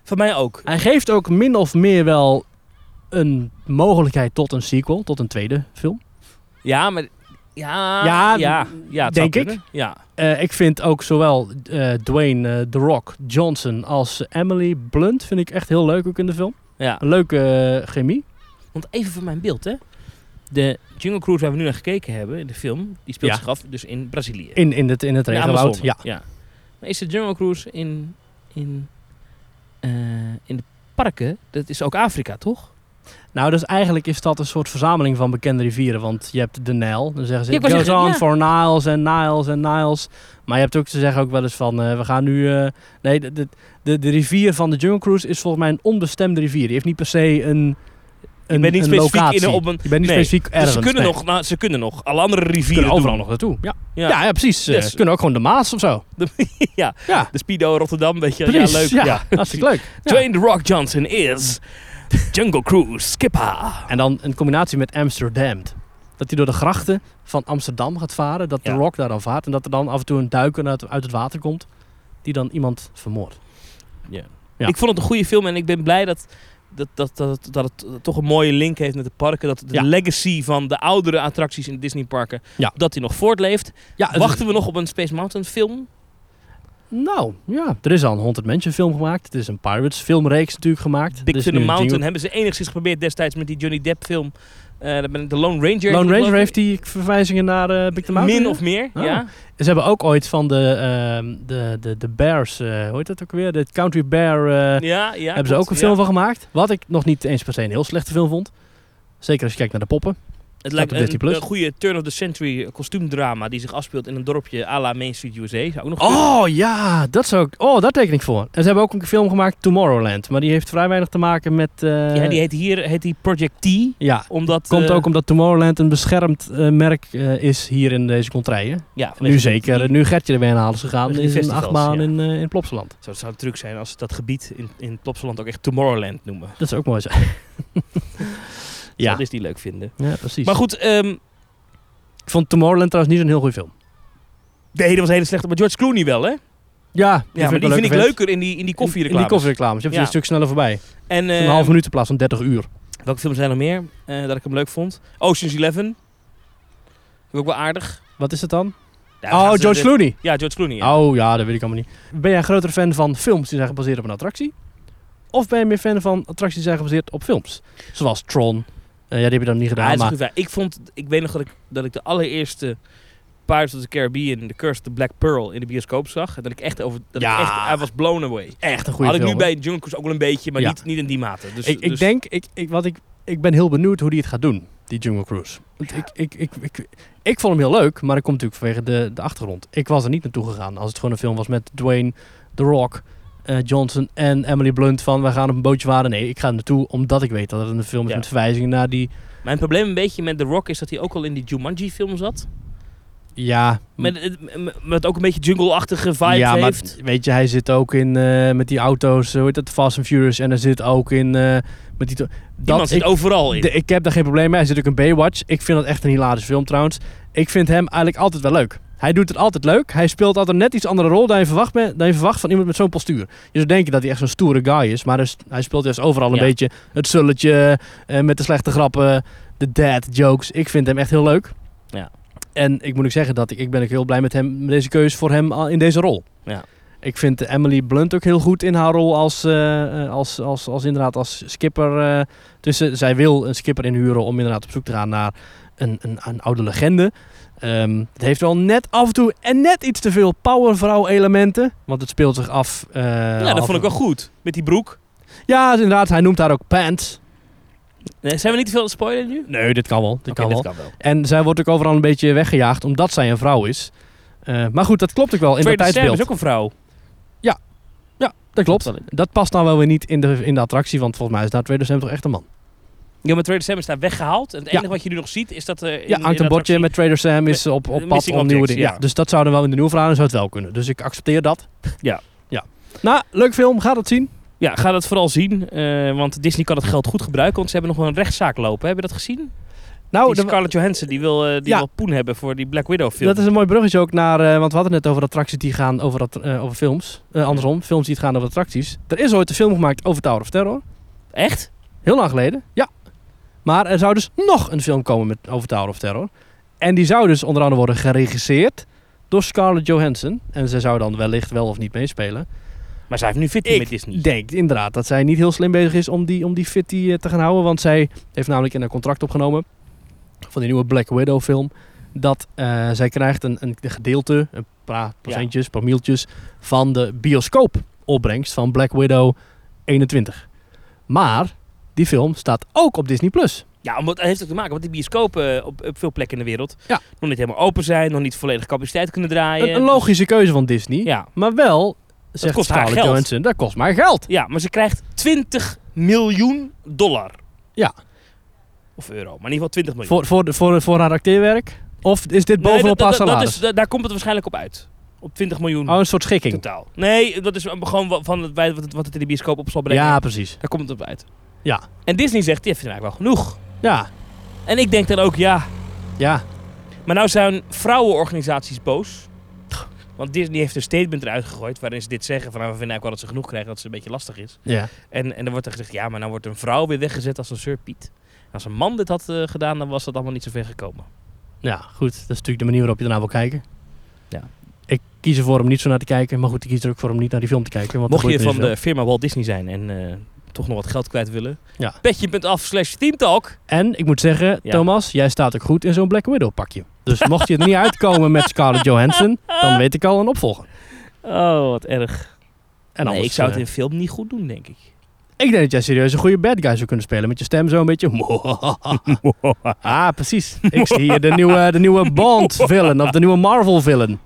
C: Van mij ook.
B: Hij geeft ook min of meer wel een mogelijkheid tot een sequel, tot een tweede film.
C: Ja, maar... Ja, ja,
B: Ja,
C: ja, het zou
B: denk ik.
C: kunnen. Ja.
B: Eh, ik vind ook zowel eh, Dwayne eh, The Rock Johnson als Emily Blunt vind ik echt heel leuk ook in de film.
C: ja.
B: Een leuke eh, chemie.
C: Want even voor mijn beeld, hè. De Jungle Cruise waar we nu naar gekeken hebben in de film, die speelt
B: Ja.
C: zich af dus in Brazilië.
B: In, in het, in het
C: de
B: regenwoud.
C: Amazone.
B: Ja.
C: Maar is de Jungle Cruise in, in, eh, in de parken, dat is ook Afrika, toch?
B: Nou, dus eigenlijk is dat een soort verzameling van bekende rivieren. Want je hebt de Nijl. Dan zeggen ze,
C: Ja,
B: it
C: ik wou
B: goes
C: zeggen,
B: on
C: ja.
B: for Niles en Niles en Niles. Maar je hebt ook, ze zeggen ook wel eens van, eh, we gaan nu... eh, nee, de, de, de, de rivier van de Jungle Cruise is volgens mij een onbestemde rivier. Die heeft niet per se een, een,
C: bent niet
B: een
C: specifiek in
B: locatie.
C: een- op een-
B: je bent niet
C: nee.
B: specifiek ergens.
C: Dus ze kunnen,
B: nee.
C: nog, nou, ze kunnen nog alle andere rivieren
B: kunnen overal nog
C: doen.
B: naartoe. Ja,
C: Ja.
B: ja. ja, precies. Eh,
C: Dus-
B: Ze kunnen ook gewoon de Maas of zo.
C: De, ja,
B: Ja,
C: de Speedo Rotterdam, weet je.
B: precies.
C: Ja,
B: Ja,
C: leuk. Ja.
B: hartstikke leuk. Ja.
C: Dwayne The Rock Johnson is Jungle Cruise skipper.
B: En dan in combinatie met Amsterdam. Dat hij door de grachten van Amsterdam gaat varen. Dat
C: Ja.
B: de rock daar dan vaart. En dat er dan af en toe een duiker uit, uit het water komt. Die dan iemand vermoordt. Ja.
C: Ik vond het een goede film en ik ben blij dat, dat, dat, dat, dat het toch een mooie link heeft met de parken. Dat de
B: Ja.
C: legacy van de oudere attracties in de Disneyparken,
B: Ja.
C: dat die nog voortleeft.
B: Ja, het-
C: Wachten we nog op een Space Mountain film?
B: Nou, ja. Er is al een Haunted Mansion film gemaakt. Het is een Pirates filmreeks natuurlijk gemaakt.
C: Big
B: Er is
C: Thunder
B: nu een
C: Mountain
B: Jingle-
C: hebben ze enigszins geprobeerd destijds met die Johnny Depp film. Eh, dat ben ik- de Lone Ranger. heeft
B: Lone
C: het
B: Ranger
C: geloof
B: heeft
C: ik.
B: die verwijzingen naar eh Big the Mountain.
C: Min of meer,
B: Oh.
C: ja.
B: Ze hebben ook ooit van de, ehm, de, de, de Bears, eh, hoe heet dat ook weer? De Country Bear eh,
C: ja, ja
B: hebben ze ook een film van gemaakt. Wat ik nog niet eens per se een heel slechte film vond. Zeker als je kijkt naar de poppen.
C: Het lijkt
B: op
C: een,
B: Disney+.
C: een goede turn of the century kostuumdrama die zich afspeelt in een dorpje à la Main Street USA. Zou ook nog kunnen.
B: Oh ja, dat zou ik. Oh, daar teken ik voor. En ze hebben ook een film gemaakt, Tomorrowland. Maar die heeft vrij weinig te maken met. eh,
C: ja, die heet hier heet die Project T.
B: ja,
C: Omdat,
B: komt
C: eh,
B: ook omdat Tomorrowland een beschermd eh, merk eh, is hier in deze contraien.
C: ja, vanwege
B: Nu
C: die-
B: zeker.
C: die-
B: Nu Gertje er weer aan is gegaan.
C: Vanwege
B: Is
C: die
B: een
C: festivals,
B: achtbaan
C: ja.
B: in, eh, in Plopsaland.
C: Zo, het zou het truc zijn als ze dat gebied in, in Plopsaland ook echt Tomorrowland noemen.
B: Dat zou ook mooi zijn.
C: Ja.
B: ja.
C: Dat is die leuk vinden.
B: ja, precies.
C: Maar goed, ehm,
B: ik vond Tomorrowland trouwens niet zo'n heel goede film.
C: nee, dat was een hele slechte. Maar George Clooney wel, hè?
B: Ja,
C: Ja, maar die vind ik leuker in die, in die
B: In
C: koffiereclames.
B: die koffiereclames. Je hebt ze
C: Ja.
B: een stuk sneller voorbij.
C: en
B: Een
C: eh,
B: half minuut in plaats van 30 uur.
C: welke films zijn er nog meer eh, dat ik hem leuk vond? Ocean's Eleven. Vind ik ook wel aardig.
B: Wat is het dan?
C: Ja, dan gaan
B: oh,
C: ze
B: George
C: de-
B: Clooney.
C: Ja, George Clooney. ja.
B: Oh ja, dat weet ik allemaal niet. Ben jij een grotere fan van films die zijn gebaseerd op een attractie? Of ben je meer fan van attracties die zijn gebaseerd op films? Zoals Tron. Eh, ja, die heb je dan niet
C: Ja,
B: gedaan,
C: dat is
B: maar...
C: goed waar. ik vond, ik weet nog dat ik, dat ik de allereerste Pirates of the Caribbean, The Curse of the Black Pearl in de bioscoop zag. En dat ik echt over... Dat
B: Ja.
C: ik echt, I was blown away.
B: Echt een goede
C: Had ik
B: film.
C: nu
B: hoor.
C: bij Jungle Cruise ook wel een beetje, maar
B: Ja.
C: niet, niet in die mate. Dus,
B: ik, ik
C: dus-
B: denk, ik, ik, wat ik, ik ben heel benieuwd hoe die het gaat doen, die Jungle Cruise. Want ik, ik, ik, ik, ik, vond hem heel leuk, maar dat komt natuurlijk vanwege de, de achtergrond. Ik was er niet naartoe gegaan als het gewoon een film was met Dwayne, The Rock, eh, Johnson en Emily Blunt van we gaan op een bootje varen. Nee, ik ga er naartoe omdat ik weet dat het een film is
C: Ja.
B: met verwijzingen naar die...
C: Mijn probleem een beetje met The Rock is dat hij ook al in die Jumanji-film zat.
B: Ja,
C: Met, het- met- met ook een beetje jungle-achtige vibe
B: Hm. ja, maar
C: heeft.
B: weet je, hij zit ook in eh, met die auto's, eh, hoe heet dat, Fast and Furious. En hij zit ook in eh, met die... to-
C: Iemand zit
B: ik-
C: overal in.
B: De- ik heb daar geen probleem mee. Hij zit ook in Baywatch. Ik vind dat echt een hilarische film trouwens. Ik vind hem eigenlijk altijd wel leuk. Hij doet het altijd leuk. Hij speelt altijd net iets andere rol dan je verwacht, bent- dan je verwacht van iemand met zo'n postuur. Je zou denken dat hij echt zo'n stoere guy is. Maar hij is- hij speelt juist overal een
C: Ja.
B: beetje het sulletje. eh, met de slechte grappen. De dad jokes. Ik vind hem echt heel leuk.
C: Ja.
B: En ik moet ook zeggen dat ik, ik ben ook heel blij met, hem, met deze keuze voor hem al- in deze rol.
C: Ja.
B: Ik vind Emily Blunt ook heel goed in haar rol als, eh, eh, als, als, als, inderdaad als skipper. eh, dus eh, zij wil een skipper inhuren om inderdaad op zoek te gaan naar een, een, een oude legende. Ehm, het heeft wel net af en toe en net iets te veel powervrouw elementen. Want het speelt zich af... eh,
C: ja, dat
B: half-
C: vond ik wel goed. Met die broek.
B: Ja, dus inderdaad. Hij noemt haar ook pants.
C: Nee, zijn we niet te veel aan het spoileren nu?
B: Nee, dit kan wel. Dit
C: Oké,
B: kan wel.
C: dit kan wel.
B: En zij wordt ook overal een beetje weggejaagd omdat zij een vrouw is. Eh, maar goed, dat klopt ook wel in dat
C: Tweede ster
B: tijdsbeeld.
C: is ook een vrouw.
B: Dat klopt.
C: wel.
B: Dat past nou wel weer niet in de, in de attractie, want volgens mij is daar tweede Sam toch echt een man.
C: Ja, maar Trader Sam is daar weggehaald. En het
B: Ja.
C: enige wat je nu nog ziet is dat... eh in,
B: ja,
C: in
B: hangt
C: de
B: een bordje
C: attractie-
B: met Trader Sam is op, op
C: eh,
B: pad
C: missing
B: om nieuwe
C: objects,
B: dingen. Ja.
C: ja.
B: dus dat zouden we wel in de nieuwe verhalen zou het wel kunnen. Dus ik accepteer dat.
C: Ja.
B: ja. Nou, leuk film. Ga dat zien.
C: Ja, ga dat vooral zien. eh, want Disney kan het geld goed gebruiken. Want ze hebben nog wel een rechtszaak lopen. Heb je dat gezien?
B: Nou,
C: die
B: dat-
C: Scarlett Johansson die wil, eh, die
B: Ja.
C: wil poen hebben voor die Black Widow film.
B: dat is een mooi bruggetje ook naar... eh, want we hadden het net over attracties die gaan over, att- eh, over films. Eh, andersom, films die het gaan over attracties. Er is ooit een film gemaakt over Tower of Terror.
C: Echt?
B: Heel lang geleden, ja. Maar er zou dus nog een film komen met, over Tower of Terror. En die zou dus onder andere worden geregisseerd door Scarlett Johansson. En zij zou dan wellicht wel of niet meespelen.
C: Maar zij heeft nu fitting met Disney.
B: Ik denk inderdaad dat zij niet heel slim bezig is om die, om die fitty eh, te gaan houden. Want zij heeft namelijk in haar contract opgenomen van die nieuwe Black Widow film. Dat eh, zij krijgt een, een gedeelte, een paar procentjes, paar mieltjes van de bioscoop opbrengst van Black Widow 21. Maar die film staat ook op Disney+. Plus.
C: Ja, omdat het heeft ook te maken. Want die bioscopen eh, op, op veel plekken in de wereld
B: Ja.
C: nog niet helemaal open zijn. Nog niet volledige capaciteit kunnen draaien.
B: Een, een logische keuze van Disney.
C: dus- Ja.
B: Maar wel, zegt
C: kost haar
B: Scarlett
C: geld.
B: Johansson, dat kost maar geld.
C: ja, maar ze krijgt 20 miljoen dollar.
B: Ja.
C: Of euro. Maar in ieder geval 20 miljoen.
B: Voor, voor, de- voor, voor haar acteerwerk? Of is dit
C: Nee,
B: bovenop
C: dat-
B: haar
C: dat- dat
B: salaris?
C: is- da- daar komt het waarschijnlijk op uit. Op 20 miljoen
B: Oh, een soort schikking.
C: totaal. Nee, dat is gewoon wa- van het, wij- wat het- wat het in de bioscoop op zal brengen.
B: Ja, precies.
C: Daar komt het op uit.
B: Ja.
C: En Disney zegt, die heeft eigenlijk wel genoeg.
B: Ja,
C: En ik denk dan ook, ja.
B: ja.
C: Maar nou zijn vrouwenorganisaties boos. Want Disney heeft een statement eruit gegooid waarin ze dit zeggen. Van, nou, we vinden eigenlijk wel dat ze genoeg krijgen, dat ze een beetje lastig is.
B: ja.
C: En, en dan wordt er gezegd, ja, maar nou wordt een vrouw weer weggezet als een surpiet. En als een man dit had eh, gedaan, dan was dat allemaal niet zo ver gekomen.
B: Ja, goed. Dat is natuurlijk de manier waarop je ernaar wil kijken.
C: Ja.
B: Ik kies ervoor om niet zo naar te kijken. Maar goed, ik kies er ook voor om niet naar die film te kijken. Want
C: Mocht je
B: dat boeit
C: van
B: me niet
C: de firma Walt Disney zijn en eh, toch nog wat geld kwijt willen.
B: Ja.
C: Petje.af slash teamtalk.
B: zoveel. En ik moet zeggen,
C: Ja.
B: Thomas, jij staat ook goed in zo'n Black Widow pakje. Dus mocht je er niet uitkomen met Scarlett Johansson, dan weet ik al een opvolger.
C: Oh, wat erg.
B: En
C: nee,
B: anders,
C: ik zou het
B: eh,
C: in film niet goed doen, denk ik.
B: ik denk dat jij serieus een goede bad guy zou kunnen spelen met je stem zo een beetje. ah, precies. Ik zie hier de nieuwe, de nieuwe Bond-villain of de nieuwe Marvel-villain.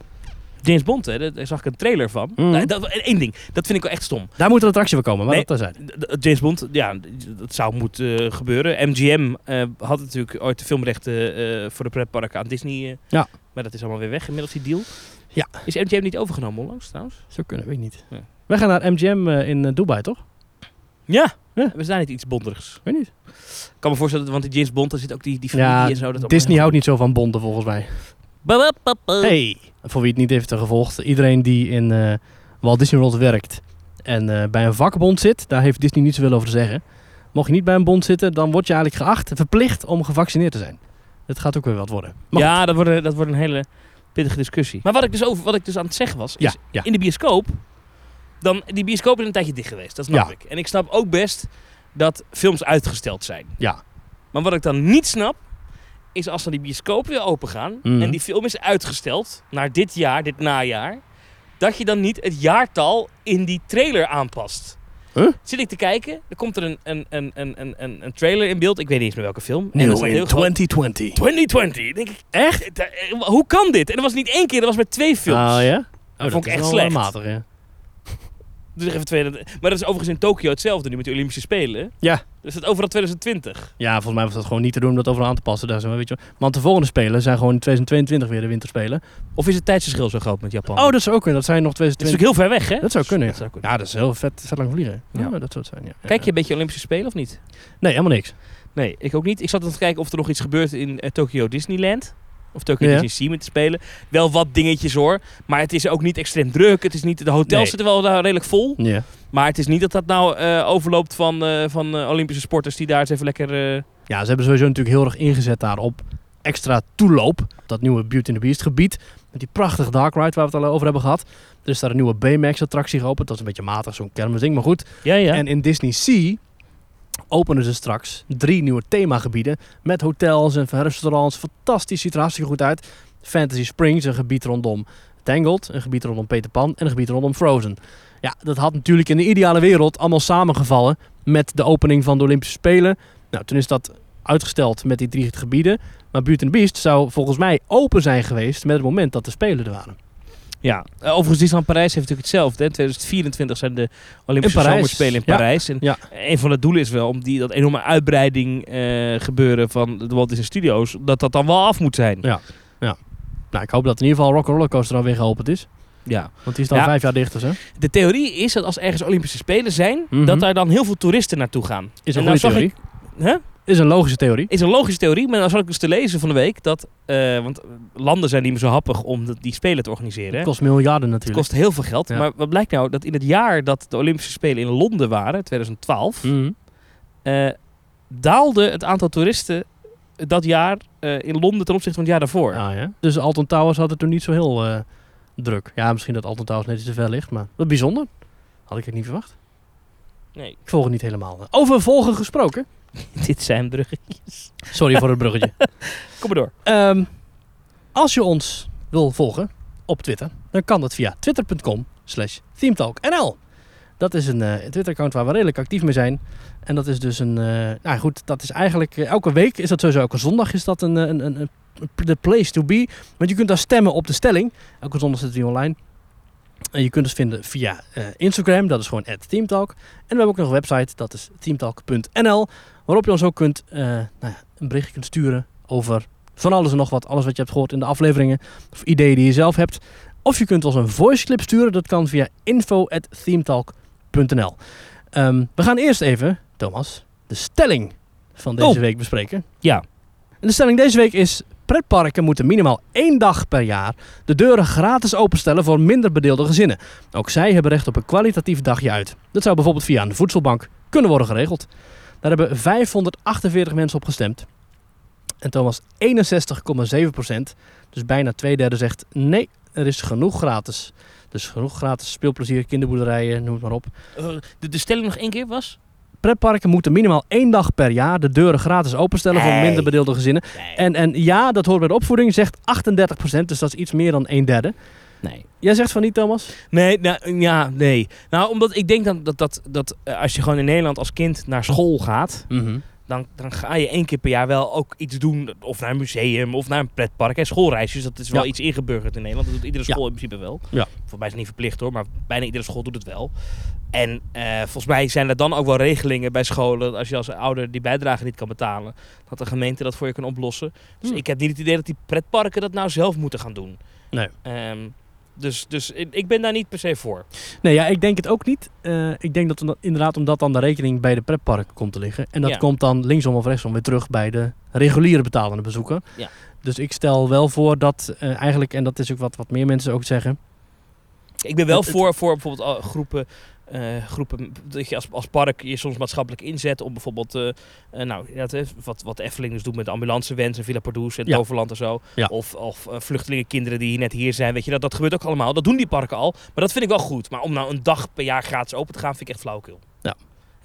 C: James Bond, hè, daar daar zag ik een trailer van.
B: Mhm.
C: Nou, dat, één ding, dat vind ik wel echt stom.
B: Daar moet een attractie voor komen, maar
C: Nee.
B: dat terzijde.
C: D- d- James Bond, ja, d- dat zou moeten eh, gebeuren. MGM eh, had natuurlijk ooit de filmrechten eh, voor de pretparken aan Disney. eh,
B: Ja.
C: Maar dat is allemaal weer weg inmiddels, die deal.
B: Ja.
C: Is MGM niet overgenomen onlangs trouwens?
B: Zo kunnen, weet ik niet.
C: Ja.
B: We gaan naar MGM eh, in eh, Dubai, toch?
C: Ja.
B: Ja.
C: We zijn niet iets bonderigs.
B: Weet niet.
C: Ik kan me voorstellen, want in James Bond, daar zit ook die, die familie
B: Ja,
C: en zo. Dat
B: Disney houdt niet zo van bonden, volgens mij.
C: Eh.
B: Hey, voor wie het niet heeft eh, gevolgd, iedereen die in eh, Walt Disney World werkt en eh, bij een vakbond zit, daar heeft Disney niet zoveel over te zeggen. Mocht je niet bij een bond zitten, dan word je eigenlijk geacht, verplicht om gevaccineerd te zijn. Het gaat ook weer wat worden. Maar
C: ja, dat wordt, een- dat wordt een hele pittige discussie. Maar wat ik dus, over, wat ik dus aan het zeggen was,
B: goed. ja,
C: is
B: ja.
C: in de bioscoop, dan, die bioscoop is een tijdje dicht geweest. Dat snap
B: Ja.
C: ik. En ik snap ook best dat films uitgesteld zijn.
B: Ja.
C: Maar wat ik dan niet snap, is als dan die bioscoop weer open gaan
B: Mhm.
C: en die film is uitgesteld naar dit jaar, dit najaar, dat je dan niet het jaartal in die trailer aanpast.
B: Huh?
C: Zit ik te kijken, dan komt er een, een, een, een, een- een, een trailer in beeld, ik weet niet eens meer welke film. En dan
B: Nieuw
C: staat
B: in
C: heel groot,
B: 2020.
C: 2020. Denk ik, echt? Da- eh, Hoe kan dit? En dat was niet één keer, dat was met twee films.
B: Ah ja? Oh, dat
C: vond ik
B: is
C: echt
B: wel
C: slecht.
B: matig, ja.
C: Dus even twee, maar dat is overigens in Tokio hetzelfde nu met de Olympische Spelen.
B: Ja.
C: Dus dat overal 2020.
B: ja, volgens mij was dat gewoon niet te doen om dat overal aan te passen. Daar zo, weet je wel. Want de volgende spelen zijn gewoon in 2022 weer de winterspelen.
C: Of is het tijdsverschil zo groot met Japan?
B: Oh, dat zou ook kunnen. Dat zijn nog
C: Het is natuurlijk heel ver weg, hè?
B: Dat zou kunnen.
C: Dat zou kunnen.
B: Ja, dat is heel vet, vet lang vliegen.
C: Ja.
B: Ja, dat zou het zijn, ja.
C: Kijk je een beetje Olympische Spelen of niet?
B: Nee, helemaal niks.
C: Nee, ik ook niet. Ik zat aan het kijken of er nog iets gebeurt in Tokyo Tokyo Disneyland. Of Tokyo
B: Ja.
C: Disney Sea met te spelen. Wel wat dingetjes hoor. Maar het is ook niet extreem druk. Het is niet, de hotels
B: Nee.
C: zitten wel daar redelijk vol.
B: Ja.
C: Maar het is niet dat dat nou eh, overloopt van, eh, van eh, Olympische sporters die daar eens even lekker... eh,
B: ja, ze hebben sowieso natuurlijk heel erg ingezet daarop. Extra toeloop. Dat nieuwe Beauty and the Beast gebied. Met die prachtige dark ride waar we het al over hebben gehad. Er is daar een nieuwe Baymax attractie geopend. Dat is een beetje matig, zo'n kermisding. Maar goed,
C: ja, ja.
B: En in Disney Sea openen ze straks drie nieuwe themagebieden met hotels en restaurants. Fantastisch, ziet er hartstikke goed uit. Fantasy Springs, een gebied rondom Tangled, een gebied rondom Peter Pan en een gebied rondom Frozen. Ja, dat had natuurlijk in de ideale wereld allemaal samengevallen met de opening van de Olympische Spelen. Nou, toen is dat uitgesteld met die drie gebieden. Maar Beauty and the Beast zou volgens mij open zijn geweest met het moment dat de Spelen er waren.
C: ja. Eh, overigens, Disneyland Parijs heeft natuurlijk hetzelfde. Hè. 2024 zijn de Olympische
B: In Parijs.
C: Zomerspelen in
B: Ja.
C: Parijs. En
B: Ja.
C: een van de doelen is wel om die, dat enorme uitbreiding eh, gebeuren van de Walt Disney Studios. Dat dat dan wel af moet zijn.
B: Nou, ik hoop dat in ieder geval Rock Rollercoaster alweer geopend is.
C: Ja.
B: Want die is dan
C: Ja.
B: vijf jaar dicht of zo.
C: De theorie is dat als ergens Olympische Spelen zijn,
B: Mhm.
C: dat daar dan heel veel toeristen naartoe gaan.
B: Is
C: En
B: een goede
C: nou zag
B: theorie.
C: Ik, hè?
B: Is een logische theorie.
C: Is een logische theorie, maar dan zat ik dus te lezen van de week dat. eh, want landen zijn niet meer zo happig om dat- die Spelen te organiseren. hè.
B: Het kost miljarden
C: Het
B: natuurlijk.
C: kost heel veel geld.
B: Ja.
C: Maar wat blijkt nou dat in het jaar dat de Olympische Spelen in Londen waren, 2012,
B: Mhm.
C: eh, daalde het aantal toeristen dat jaar eh, in Londen ten opzichte van het jaar daarvoor.
B: Ah, ja. Dus Alton Towers had het toen niet zo heel eh, druk. Ja, misschien dat Alton Towers net iets te ver ligt, maar wat bijzonder. Had ik het niet verwacht.
C: Nee,
B: Ik volg het niet helemaal. Over volgen gesproken.
C: dit zijn bruggetjes.
B: Sorry voor het bruggetje.
C: Kom maar door.
B: Ehm, als je ons wil volgen op Twitter, dan kan dat via twitter.com slash themetalknl. Dat is een eh, Twitter-account waar we redelijk actief mee zijn. En dat is dus een... eh, nou goed, dat is eigenlijk... eh, elke week is dat sowieso, elke zondag is dat een, eh, een, een, een the place to be. Want je kunt daar stemmen op de stelling. Elke zondag zit die online. En je kunt ons vinden via eh, Instagram, dat is gewoon @teamtalk. En we hebben ook nog een website, dat is teamtalk.nl. Waarop je ons ook kunt, eh, nou ja, een berichtje kunt sturen over van alles en nog wat. Alles wat je hebt gehoord in de afleveringen. Of ideeën die je zelf hebt. Of je kunt ons een voice clip sturen. Dat kan via info.themetalk.nl Ehm, We gaan eerst even, Thomas, de stelling van deze
C: Oh.
B: week bespreken.
C: Ja.
B: En de stelling deze week is... Pretparken moeten minimaal één dag per jaar de deuren gratis openstellen voor minder bedeelde gezinnen. Ook zij hebben recht op een kwalitatief dagje uit. Dat zou bijvoorbeeld via een voedselbank kunnen worden geregeld. Daar hebben 548 mensen op gestemd. En Thomas, 61,7 Dus bijna twee derde zegt nee, er is genoeg gratis. Dus genoeg gratis speelplezier, kinderboerderijen, noem het maar op.
C: Eh, de, de stelling nog één keer was?
B: Pretparken moeten minimaal één dag per jaar de deuren gratis openstellen voor
C: Nee.
B: minder bedeelde gezinnen. En, en ja, dat hoort bij de opvoeding, zegt 38 Dus dat is iets meer dan een derde.
C: Nee.
B: Jij zegt van niet, Thomas?
C: Nee, nou, ja, nee. Nou, omdat ik denk dan dat, dat, dat eh, als je gewoon in Nederland als kind naar school gaat, dan, dan ga je één keer per jaar wel ook iets doen. Of naar een museum of naar een pretpark. En schoolreisjes, dat is wel
B: Ja.
C: iets ingeburgerd in Nederland. Dat doet iedere
B: Ja.
C: school in principe wel.
B: Ja.
C: Voor mij is het niet verplicht hoor, maar bijna iedere school doet het wel. En eh, volgens mij zijn er dan ook wel regelingen bij scholen. Als je als ouder die bijdrage niet kan betalen, dat de gemeente dat voor je kan oplossen. Dus
B: Hmm.
C: ik heb niet het idee dat die pretparken dat nou zelf moeten gaan doen.
B: Nee.
C: Ehm, dus, dus ik ik ben daar niet per se voor.
B: Nee, ja, ik denk het ook niet. Eh, ik denk dat om- inderdaad omdat dan de rekening bij de pretparken komt te liggen. En dat
C: Ja.
B: komt dan linksom of rechtsom weer terug bij de reguliere betalende bezoeker.
C: Ja.
B: Dus ik stel wel voor dat eh, eigenlijk, en dat is ook wat, wat meer mensen ook zeggen.
C: Ik ben wel
B: Het- het-
C: voor, voor bijvoorbeeld al- groepen, eh, groepen dat je als, als park je soms maatschappelijk inzet om bijvoorbeeld, eh, eh, nou, inderdaad, hè, wat, wat de Efteling dus doet met de ambulancewens en Villa Pardoes en
B: Ja.
C: Toverland en zo.
B: Ja.
C: Of, of eh, vluchtelingenkinderen die net hier zijn, weet je, dat, dat gebeurt ook allemaal. Dat doen die parken al, maar dat vind ik wel goed. Maar om nou een dag per jaar gratis open te gaan, vind ik echt flauwkul.
B: Ja.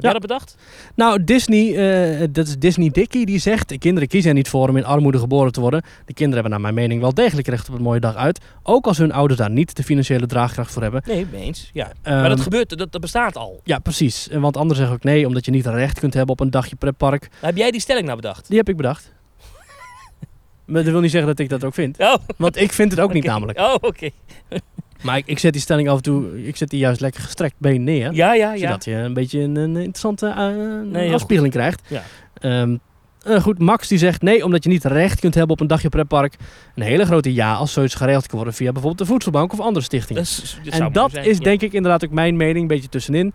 C: jij dat bedacht?
B: Nou, Disney, eh, dat is Disney Dickie, die zegt... de kinderen kiezen er niet voor om in armoede geboren te worden. De kinderen hebben naar mijn mening wel degelijk recht op een mooie dag uit. Ook als hun ouders daar niet de financiële draagkracht voor hebben.
C: Nee, mee eens. Ja.
B: Ehm,
C: maar dat gebeurt, dat, dat bestaat al.
B: Ja, precies. Eh, Want anderen zeggen ook nee, omdat je niet recht kunt hebben op een dagje pretpark.
C: Heb jij die stelling nou bedacht?
B: Die heb ik bedacht. maar dat wil niet zeggen dat ik dat ook vind.
C: Oh,
B: Want ik vind het ook niet
C: oké.
B: namelijk.
C: Oh, oké.
B: Maar ik, ik zet die stelling af en toe... Ik zet die juist lekker gestrekt been neer.
C: Ja, ja, ja.
B: Zodat je een beetje een, een interessante eh,
C: heel
B: afspiegeling krijgt.
C: Ja.
B: Ehm, eh, goed, Max die zegt nee, omdat je niet recht kunt hebben op een dagje pretpark. Een hele grote ja als zoiets geregeld kan worden via bijvoorbeeld de voedselbank of andere stichtingen.
C: Dat is- zou
B: en
C: mooi
B: dat
C: zijn,
B: is
C: ja.
B: denk ik inderdaad ook mijn mening, een beetje tussenin.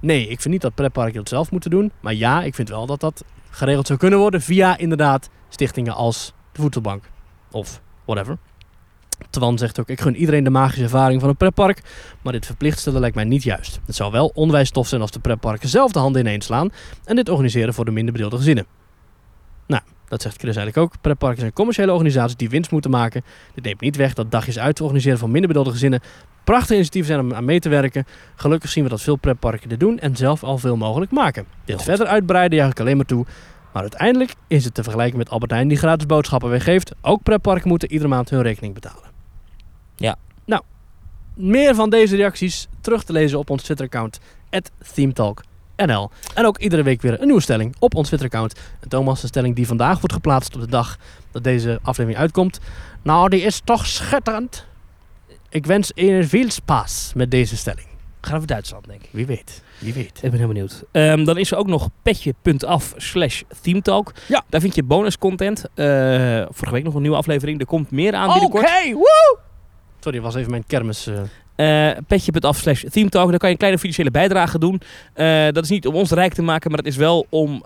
B: Nee, ik vind niet dat pretparken dat zelf moeten doen. Maar ja, ik vind wel dat dat geregeld zou kunnen worden via inderdaad stichtingen als de voedselbank. Of whatever. Twan zegt ook, ik gun iedereen de magische ervaring van een pretpark. Maar dit verplicht stellen lijkt mij niet juist. Het zou wel onwijs tof zijn als de pretparken zelf de handen ineens slaan. En dit organiseren voor de minder bedeelde gezinnen. Nou, dat zegt Chris eigenlijk ook. Pretparken zijn commerciële organisaties die winst moeten maken. Dit neemt niet weg dat dagjes uit te organiseren voor minder bedeelde gezinnen prachtige initiatieven zijn om aan mee te werken. Gelukkig zien we dat veel pretparken dit doen en zelf al veel mogelijk maken. Dit verder uitbreiden juich ik alleen maar toe. Maar uiteindelijk is het te vergelijken met Albert Heijn die gratis boodschappen weggeeft. Ook pretparken moeten iedere maand hun rekening betalen.
C: Ja.
B: Nou, meer van deze reacties terug te lezen op ons Twitter-account @themetalknl. En ook iedere week weer een nieuwe stelling op ons Twitter-account. En Thomas, de stelling die vandaag wordt geplaatst op de dag dat deze aflevering uitkomt. Nou, die is toch schitterend. Ik wens een veel spaas met deze stelling.
C: Gaan we voor Duitsland, denk ik.
B: Wie weet, wie weet.
C: Ik ben heel benieuwd. Ehm, dan is er ook nog petje.af slash themetalk.
B: Ja.
C: Daar vind je bonuscontent. Eh, vorige week nog een nieuwe aflevering. Er komt meer aan binnenkort.
B: woe! Sorry, was even mijn kermis. eh.
C: Eh, petje.af slash themetalk. Daar kan je een kleine financiële bijdrage doen. Eh, dat is niet om ons rijk te maken, maar het is wel om eh,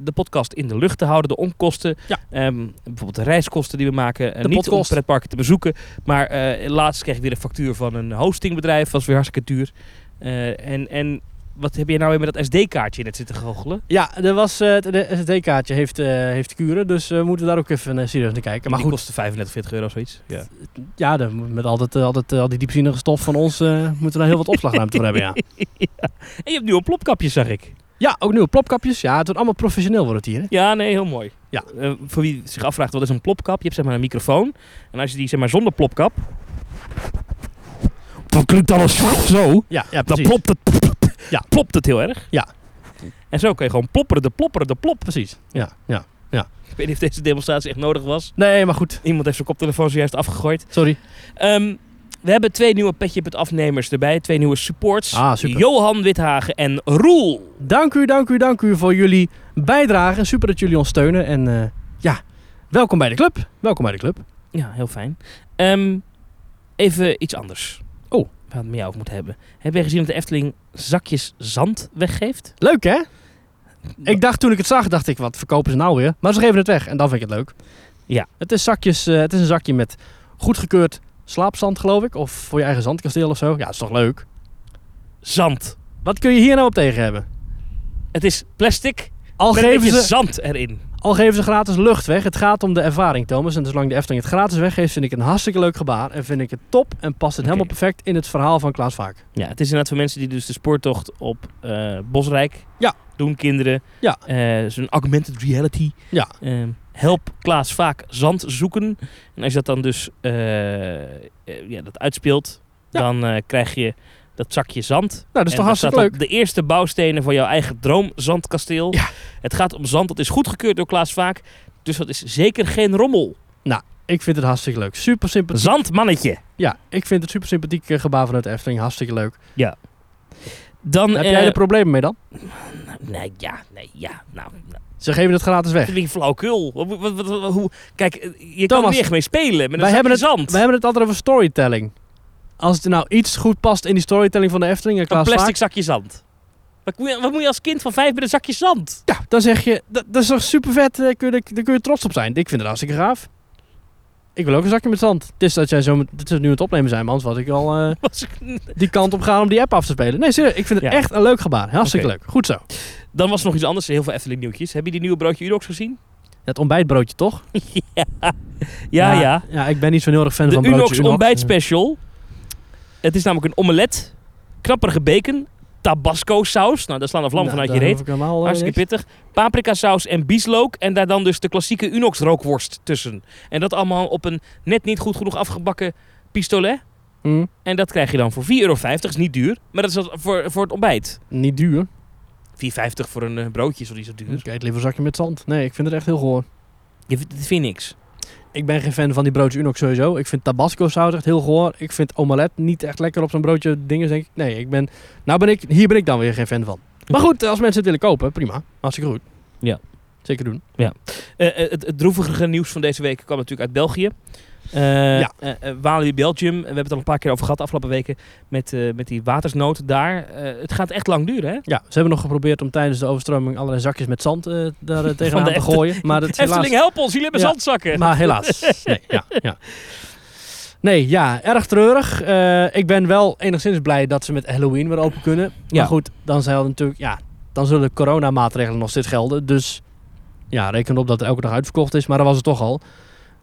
C: de podcast in de lucht te houden. De onkosten.
B: Ja.
C: Ehm, bijvoorbeeld de reiskosten die we maken. Eh,
B: De
C: niet
B: podcast.
C: om pretparken te bezoeken. Maar eh, laatst kreeg ik weer een factuur van een hostingbedrijf. was weer hartstikke duur. Eh, en, en wat heb je nou weer met dat SD-kaartje in het zitten goochelen?
B: Ja, er was, eh, het de SD-kaartje heeft, eh, heeft kuren, dus eh, we moeten daar ook even eh, serieus naar kijken. Maar
C: die
B: goed,
C: kostte 35, 40 euro zoiets. Ja.
B: ja, dan moet- met al, dat, eh, al, dat, eh, al die diepzinnige stof van ons eh, moeten we daar heel wat opslagruimte voor hebben, ja.
C: En je hebt nu een plopkapje, zag ik.
B: Ja, ook nieuwe plopkapjes. Ja, het wordt allemaal professioneel wordt het hier, hè?
C: Ja, nee, heel mooi.
B: Ja.
C: Eh, voor wie zich afvraagt, wat is een plopkap? Je hebt zeg maar een microfoon. En als je die zeg maar zonder plopkap... Dan klinkt alles zo.
B: Ja, ja
C: Dan
B: precies.
C: plopt het,
B: Ja.
C: plopt het heel erg.
B: Ja.
C: En zo kun je gewoon plopperen de plopperen de plop.
B: Precies, ja, ja.
C: Ik weet niet of deze demonstratie echt nodig was.
B: Nee, maar goed.
C: Iemand heeft zijn koptelefoon zojuist afgegooid.
B: Sorry.
C: Ehm, we hebben twee nieuwe petje met afnemers erbij. Twee nieuwe supports.
B: Ah, super.
C: Johan Withagen en Roel.
B: Dank u, dank u, dank u voor jullie bijdrage. Super dat jullie ons steunen. En eh, ja, welkom bij de club. Welkom bij de club.
C: Ja, heel fijn. Ehm, even iets anders.
B: Oh.
C: We hadden het met jou over moeten hebben. Heb jij gezien dat de Efteling zakjes zand weggeeft?
B: Leuk hè? Ik dacht toen ik het zag, dacht ik, wat verkopen ze nou weer? Maar ze geven het weg en dan vind ik het leuk.
C: Ja.
B: Het is, zakjes, eh, het is een zakje met goedgekeurd slaapzand, geloof ik. Of voor je eigen zandkasteel of zo. Ja, is toch leuk?
C: Zand.
B: Wat kun je hier nou op tegen hebben?
C: Het is plastic
B: Al
C: met een
B: geven,
C: beetje
B: ze,
C: zand erin.
B: al geven ze gratis lucht weg. Het gaat om de ervaring, Thomas. En dus zolang de Efteling het gratis weggeeft, vind ik het een hartstikke leuk gebaar. En vind ik het top en past het
C: Oké.
B: helemaal perfect in het verhaal van Klaas Vaak.
C: Ja, het is inderdaad voor mensen die dus de spoortocht op eh, Bosrijk
B: Ja.
C: doen. Kinderen.
B: Ja.
C: Eh, Zo'n augmented reality.
B: Ja.
C: Ehm, help Klaas vaak zand zoeken. En als je dat dan dus eh, eh, ja, dat uitspeelt,
B: Ja.
C: dan eh, krijg je dat zakje zand.
B: Nou, dat is toch
C: En daar
B: hartstikke
C: staat
B: leuk?
C: op De eerste bouwstenen van jouw eigen droomzandkasteel.
B: Ja.
C: Het gaat om zand, dat is goedgekeurd door Klaas Vaak. Dus dat is zeker geen rommel.
B: Ik vind het hartstikke leuk. Super sympathiek.
C: Zandmannetje.
B: Ja, ik vind het super sympathiek eh, gebaar vanuit de Efteling. Hartstikke leuk.
C: Dan,
B: Heb
C: eh,
B: jij er problemen mee dan?
C: nee, ja, nee, ja. Nou, nou,
B: Ze geven het gratis weg.
C: dat vind ik flauwekul. Wat- wat- wat- wat- hoe, kijk, eh, je kan
B: Thomas,
C: er niet echt mee spelen. Met
B: wij
C: een
B: hebben
C: zakje zand.
B: We hebben het altijd over storytelling. Als er nou iets goed past in die storytelling van de Efteling eh, en
C: een
B: Klaas
C: plastic zakje zand. Wat moet, je, wat moet je als kind van vijf met een zakje zand?
B: Vaak, ja, dan zeg je, dat, dat is toch super vet, daar kun, je, daar kun je trots op zijn. Ik vind het hartstikke gaaf. Ik wil ook een zakje met zand. Het is dat jij zo met, het is nu aan het opnemen zijn, man. anders had ik al eh,
C: Was ik-
B: die kant op gaan om die app af te spelen. Nee, serieus, ik vind het
C: Ja.
B: echt een leuk gebaar. Hartstikke leuk. Goed zo.
C: Dan was er nog iets anders. Heel veel Efteling nieuwtjes. Heb je die nieuwe broodje Urox gezien?
B: Het ontbijtbroodje, toch?
C: Ja, ja.
B: Ja, ik ben niet zo'n heel erg fan van
C: de
B: broodjes
C: Unox ontbijtspecial. Het is namelijk een omelet, knapperige bacon, tabasco saus. Nou, daar slaan de vlam vanuit je reet.
B: eh,
C: Hartstikke pittig. Paprika saus en bieslook. En daar dan dus de klassieke Unox rookworst tussen. En dat allemaal op een net niet goed genoeg afgebakken pistolet.
B: Mm,
C: En dat krijg je dan voor 4,50 euro. is niet duur, maar dat is wat voor, voor het ontbijt.
B: Niet duur.
C: 4,50 voor een eh, broodje is wel niet zo duur.
B: Ik eet liever een zakje met zand. Nee, ik vind het echt heel goor.
C: Je vindt- Dat vind je niks.
B: Ik ben geen fan van die broodjes Unox sowieso. Ik vind tabasco saus echt heel goor. Ik vind omelet niet echt lekker op zo'n broodje dingen. Denk ik. Nee, ik ben, nou ben ik, hier ben ik dan weer geen fan van. Maar goed, als mensen het willen kopen, prima. Hartstikke goed.
C: Ja.
B: Zeker doen.
C: Eh, eh, het, het droevigere nieuws van deze week kwam natuurlijk uit België. Eh
B: Ja.
C: eh, eh, Walibi Belgium, we hebben het al een paar keer over gehad de afgelopen weken met, eh, met die watersnood daar. Eh, het gaat echt lang duren, hè?
B: Ja, ze hebben nog geprobeerd om tijdens de overstroming allerlei zakjes met zand eh, daar eh, tegenaan
C: de
B: te
C: Eftel-
B: gooien. Maar dat is helaas
C: Efteling, help ons, jullie hebben
B: Ja.
C: zandzakken.
B: Maar helaas. Nee, ja, ja. Nee, ja, erg treurig. Eh, ik ben wel enigszins blij dat ze met Halloween weer open kunnen.
C: Ja.
B: Maar goed, dan, zijn er natuurlijk, ja, dan zullen de coronamaatregelen nog steeds gelden. Dus ja, reken op dat er elke dag uitverkocht is. Maar dat was het toch al.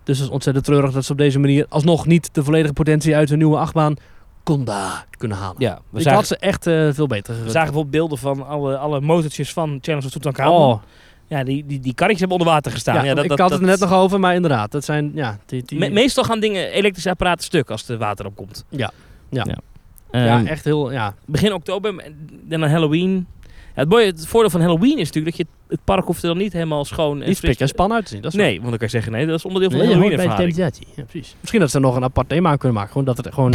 B: Dus het is ontzettend treurig dat ze op deze manier alsnog niet de volledige potentie uit hun nieuwe achtbaan Conda kunnen halen.
C: ja, we
B: Ik
C: zagen,
B: had ze echt eh, veel beter
C: we
B: gegund.
C: zagen bijvoorbeeld beelden van alle, alle motortjes van Challenge of Tutankhamun.
B: Oh,
C: Ja, die, die, die karretjes hebben onder water gestaan.
B: ja,
C: Ja, dat,
B: ik
C: dat,
B: had
C: dat-
B: het er net nog over, maar inderdaad, dat zijn ja, die, die,
C: Me- meestal gaan dingen, elektrische apparaten stuk als er water op komt.
B: Ja. Ja.
C: Ehm,
B: ja, echt heel, ja,
C: begin oktober en dan Halloween. Ja, het, mooie, het voordeel van Halloween is natuurlijk dat je het park hoeft er dan niet helemaal schoon en
B: niet
C: fris
B: pik en span uit te zien. Dat is
C: Nee, want dan kan je zeggen, nee, dat is onderdeel van de
B: Nee,
C: Halloween
B: hoort bij de
C: ervaring.
B: thematisatie. Ja, precies. Misschien dat ze er nog een apart thema aan kunnen maken. Gewoon dat het gewoon,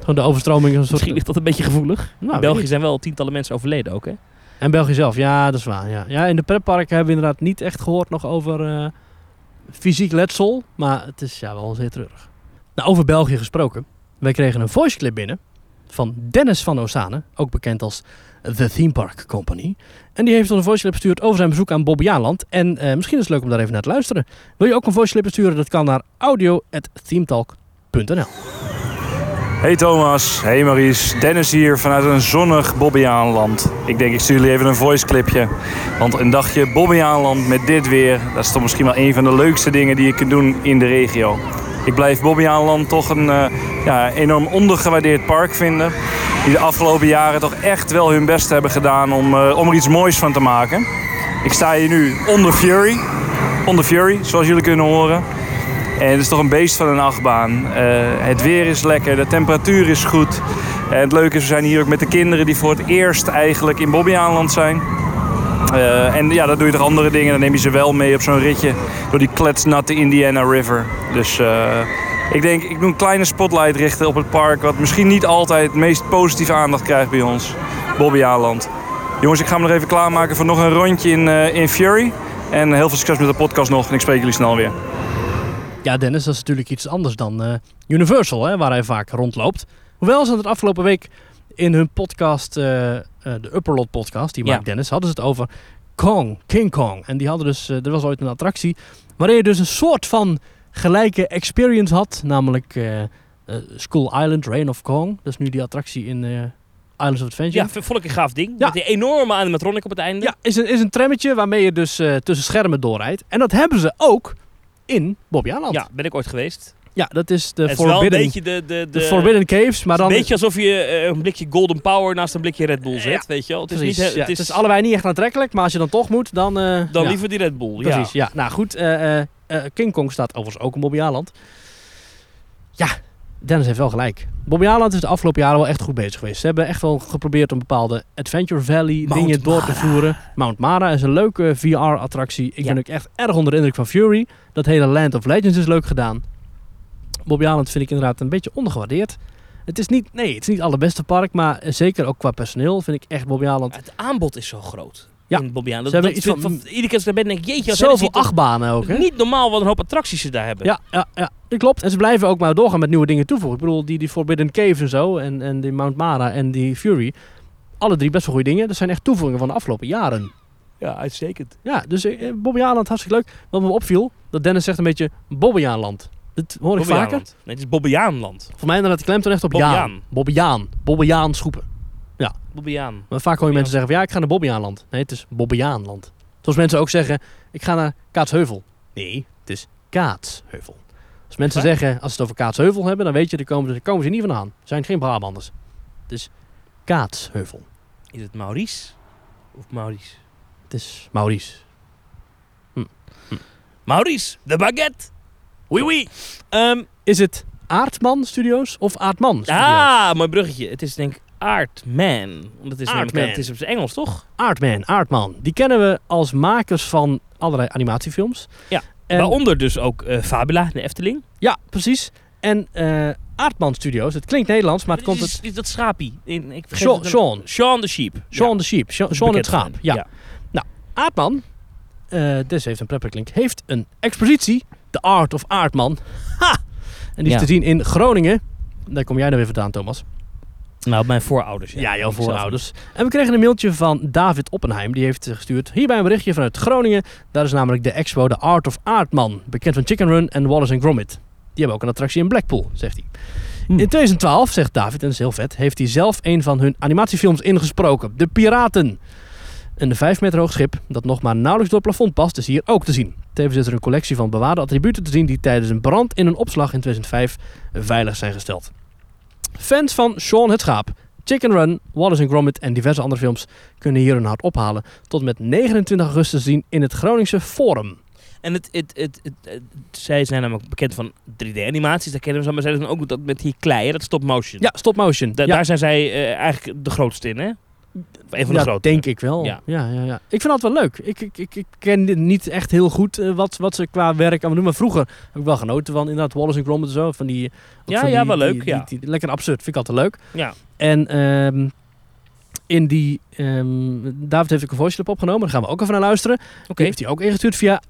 B: gewoon de overstroming een soort...
C: Misschien ligt dat een beetje gevoelig.
B: Nou,
C: In
B: weet
C: België
B: ik.
C: zijn wel tientallen mensen overleden ook, hè?
B: En België zelf, ja, dat is waar. Ja, ja in de pretparken hebben we inderdaad niet echt gehoord nog over eh, fysiek letsel. Maar het is ja, wel zeer treurig. Nou, over België gesproken. Wij kregen een voiceclip binnen van Dennis van Osane, ook bekend als The Theme Park Company. En die heeft ons een voiceclip gestuurd over zijn bezoek aan Bobbejaanland. En eh, misschien is het leuk om daar even naar te luisteren. Wil je ook een voiceclip besturen? Dat kan naar audio.themetalk.nl
D: Hey Thomas, hey Maries, Dennis hier vanuit een zonnig Bobbejaanland. Ik denk ik stuur jullie even een voiceclipje. Want een dagje Bobbejaanland met dit weer, dat is toch misschien wel een van de leukste dingen die je kunt doen in de regio. Ik blijf Bobbejaanland toch een eh, ja, enorm ondergewaardeerd park vinden. Die de afgelopen jaren toch echt wel hun best hebben gedaan om, eh, om er iets moois van te maken. Ik sta hier nu onder Fury. Onder Fury, zoals jullie kunnen horen. En Eh, het is toch een beest van een achtbaan. Eh, het weer is lekker, de temperatuur is goed. En het leuke is, we zijn hier ook met de kinderen die voor het eerst eigenlijk in Bobbejaanland zijn. Eh, en ja, dan doe je toch andere dingen. Dan neem je ze wel mee op zo'n ritje door die kletsnatte Indiana River. Dus eh, ik denk, ik doe een kleine spotlight richten op het park... wat misschien niet altijd het meest positieve aandacht krijgt bij ons. Bobbejaanland. Jongens, ik ga me nog even klaarmaken voor nog een rondje in, eh, in Fury. En heel veel succes met de podcast nog. En ik spreek jullie snel weer.
B: Ja, Dennis, dat is natuurlijk iets anders dan eh, Universal, hè, waar hij vaak rondloopt. Hoewel ze het afgelopen week in hun podcast, eh, eh, de Upperlot podcast, die
C: Ja.
B: maakt Dennis, hadden ze het over Kong, King Kong. En die hadden dus, eh, er was ooit een attractie waarin je dus een soort van gelijke experience had, namelijk eh, eh, School Island, Reign of Kong. Dat is nu die attractie in eh, Islands of Adventure.
C: Ja, v- vond ik een gaaf ding.
B: Ja.
C: Met die enorme animatronic op het einde.
B: Ja, is een, is een trammetje waarmee je dus eh, tussen schermen doorrijdt. En dat hebben ze ook in Bobby Aland.
C: Ja, ben ik ooit geweest.
B: Ja, dat is de
C: het is wel een
B: Forbidden
C: beetje de... de,
B: De
C: de
B: Forbidden Caves, maar dan...
C: Een beetje alsof je eh, een blikje Golden Power naast een blikje Red Bull zet, weet je wel. Het is,
B: Precies,
C: niet, he-
B: ja,
C: het is,
B: allebei niet echt aantrekkelijk, maar als je dan toch moet, dan... eh,
C: dan
B: ja,
C: liever die Red Bull,
B: Precies,
C: ja.
B: ja. Nou goed, eh, eh, eh, King Kong staat overigens ook in Bobby Aland. Ja, Dennis heeft wel gelijk. Bobby Aland is de afgelopen jaren wel echt goed bezig geweest. Ze hebben echt wel geprobeerd om bepaalde Adventure Valley
C: Mount
B: dingen door te voeren. Mount Mara is een leuke VR-attractie. Ik
C: Ja.
B: ben ook echt erg onder de indruk van Fury. Dat hele Land of Legends is leuk gedaan. Bobby Aland vind ik inderdaad een beetje ondergewaardeerd. Het is niet, nee, het is niet het allerbeste park, maar eh, zeker ook qua personeel vind ik echt Bobby Aland
C: Het aanbod is zo groot
B: Ja.
C: in Bobbejaanland.
B: Ze hebben
C: Dat
B: iets
C: vind-
B: van-
C: Iedere keer als ik daar ben, denk ik, jeetje, als
B: Zoveel
C: Hennessy toch-
B: achtbanen ook, hè?
C: Niet normaal wat een hoop attracties ze daar hebben.
B: Ja, ja, ja, dat klopt. En ze blijven ook maar doorgaan met nieuwe dingen toevoegen. Ik bedoel, die, die Forbidden Caves en zo, en, en die Mount Mara en die Fury. Alle drie best wel goede dingen. Dat zijn echt toevoegingen van de afgelopen jaren.
C: ja uitstekend.
B: Ja, dus eh, Bobbejaanland, hartstikke leuk. Wat me opviel, dat Dennis zegt een beetje Bobbejaanland. Dit hoor ik vaker.
C: Bobbejaanland. Nee, het is Bobbejaanland.
B: Voor mij inderdaad klemt er echt op
C: Bobbejaan.
B: Jaan. Bobbejaan. Bobbejaan schoepen.
C: Bobbejaan.
B: Maar vaak hoor je mensen zeggen van ja, ik ga naar Bobbejaanland. Nee, het is Bobbejaanland. Zoals mensen ook zeggen, ik ga naar Kaatsheuvel. Nee, het is Kaatsheuvel. Als mensen
C: Waar?
B: zeggen, als ze het over Kaatsheuvel hebben, dan weet je, daar komen ze, daar komen ze niet van aan. Er zijn geen Brabanders. Het is Kaatsheuvel.
C: Is het Maurice? Of Maurice?
B: Het is Maurice.
C: Maurice, de baguette! Oui, oui! Ehm,
B: Is het Aardman Studios of Aardman Studios?
C: ah, mooi bruggetje. Het is denk ik Aardman. Want het is, namelijk-
B: Aardman.
C: het is op zijn Engels, toch?
B: Aardman, Aardman. Die kennen we als makers van allerlei animatiefilms.
C: Ja,
B: En-
C: Waaronder dus ook eh, Fabula, de Efteling.
B: Ja, precies. En eh, Aardman Studios, het klinkt Nederlands, maar het
C: Dit
B: komt
C: is-
B: het...
C: dit is dat schaapie. In- Ik vergeet
B: Sean,
C: het-
B: Sean,
C: Sean the Sheep.
B: Sean de Sheep, Sean, Sean het
C: Bekend
B: Schaap.
C: van.
B: Ja. Aardman, eh dus heeft een prepper klink, heeft een expositie, The Art of Aardman. Ha! En die is
C: Ja.
B: te zien in Groningen. Daar kom jij nou weer vandaan, Thomas.
C: Nou, mijn voorouders.
B: Ja, jouw
C: Ik zelf.
B: voorouders. En we kregen een mailtje van David Oppenheim. Die heeft eh, gestuurd hierbij een berichtje vanuit Groningen. Daar is namelijk de expo The Art of Aardman. Bekend van Chicken Run en Wallace and Gromit. Die hebben ook een attractie in Blackpool, zegt hij.
C: Hmm.
B: In 2012, zegt David, en dat is heel vet, heeft hij zelf een van hun animatiefilms ingesproken. De Piraten. Een 5 meter hoog schip dat nog maar nauwelijks door het plafond past, is hier ook te zien. Tevens is er een collectie van bewaarde attributen te zien die tijdens een brand in een opslag in 2005 veilig zijn gesteld. Fans van Sean het Schaap Chicken Run, Wallace and Gromit en diverse andere films kunnen hier hun hart ophalen. Tot en met 29 augustus te zien in het Groningse Forum.
C: En het, het, het, het, het- zij zijn namelijk bekend van 3D-animaties, daar kennen we ze, maar zij doen ook dat met die kleien, dat stop motion.
B: Ja, stop motion.
C: Da-
B: ja,
C: Daar zijn zij eh, eigenlijk de grootste in, hè? Of een van de
B: ja,
C: grootste.
B: denk ik wel.
C: Ja.
B: Ja. Ja, ja, Ik vind dat wel leuk. Ik, ik, ik, ik ken dit niet echt heel goed eh, wat, wat ze qua werk allemaal doen. Maar vroeger heb ik wel genoten van inderdaad Wallace and Gromit en zo. Van die, ook
C: Ja,
B: van
C: ja,
B: die-
C: wel leuk,
B: die- die-
C: ja.
B: die- lekker absurd, vind ik altijd leuk.
C: Ja.
B: En ehm, in die... ehm, David heeft ook een voice clip opgenomen. Daar gaan we ook even naar luisteren.
C: Oké.
B: Die heeft hij ook ingestuurd via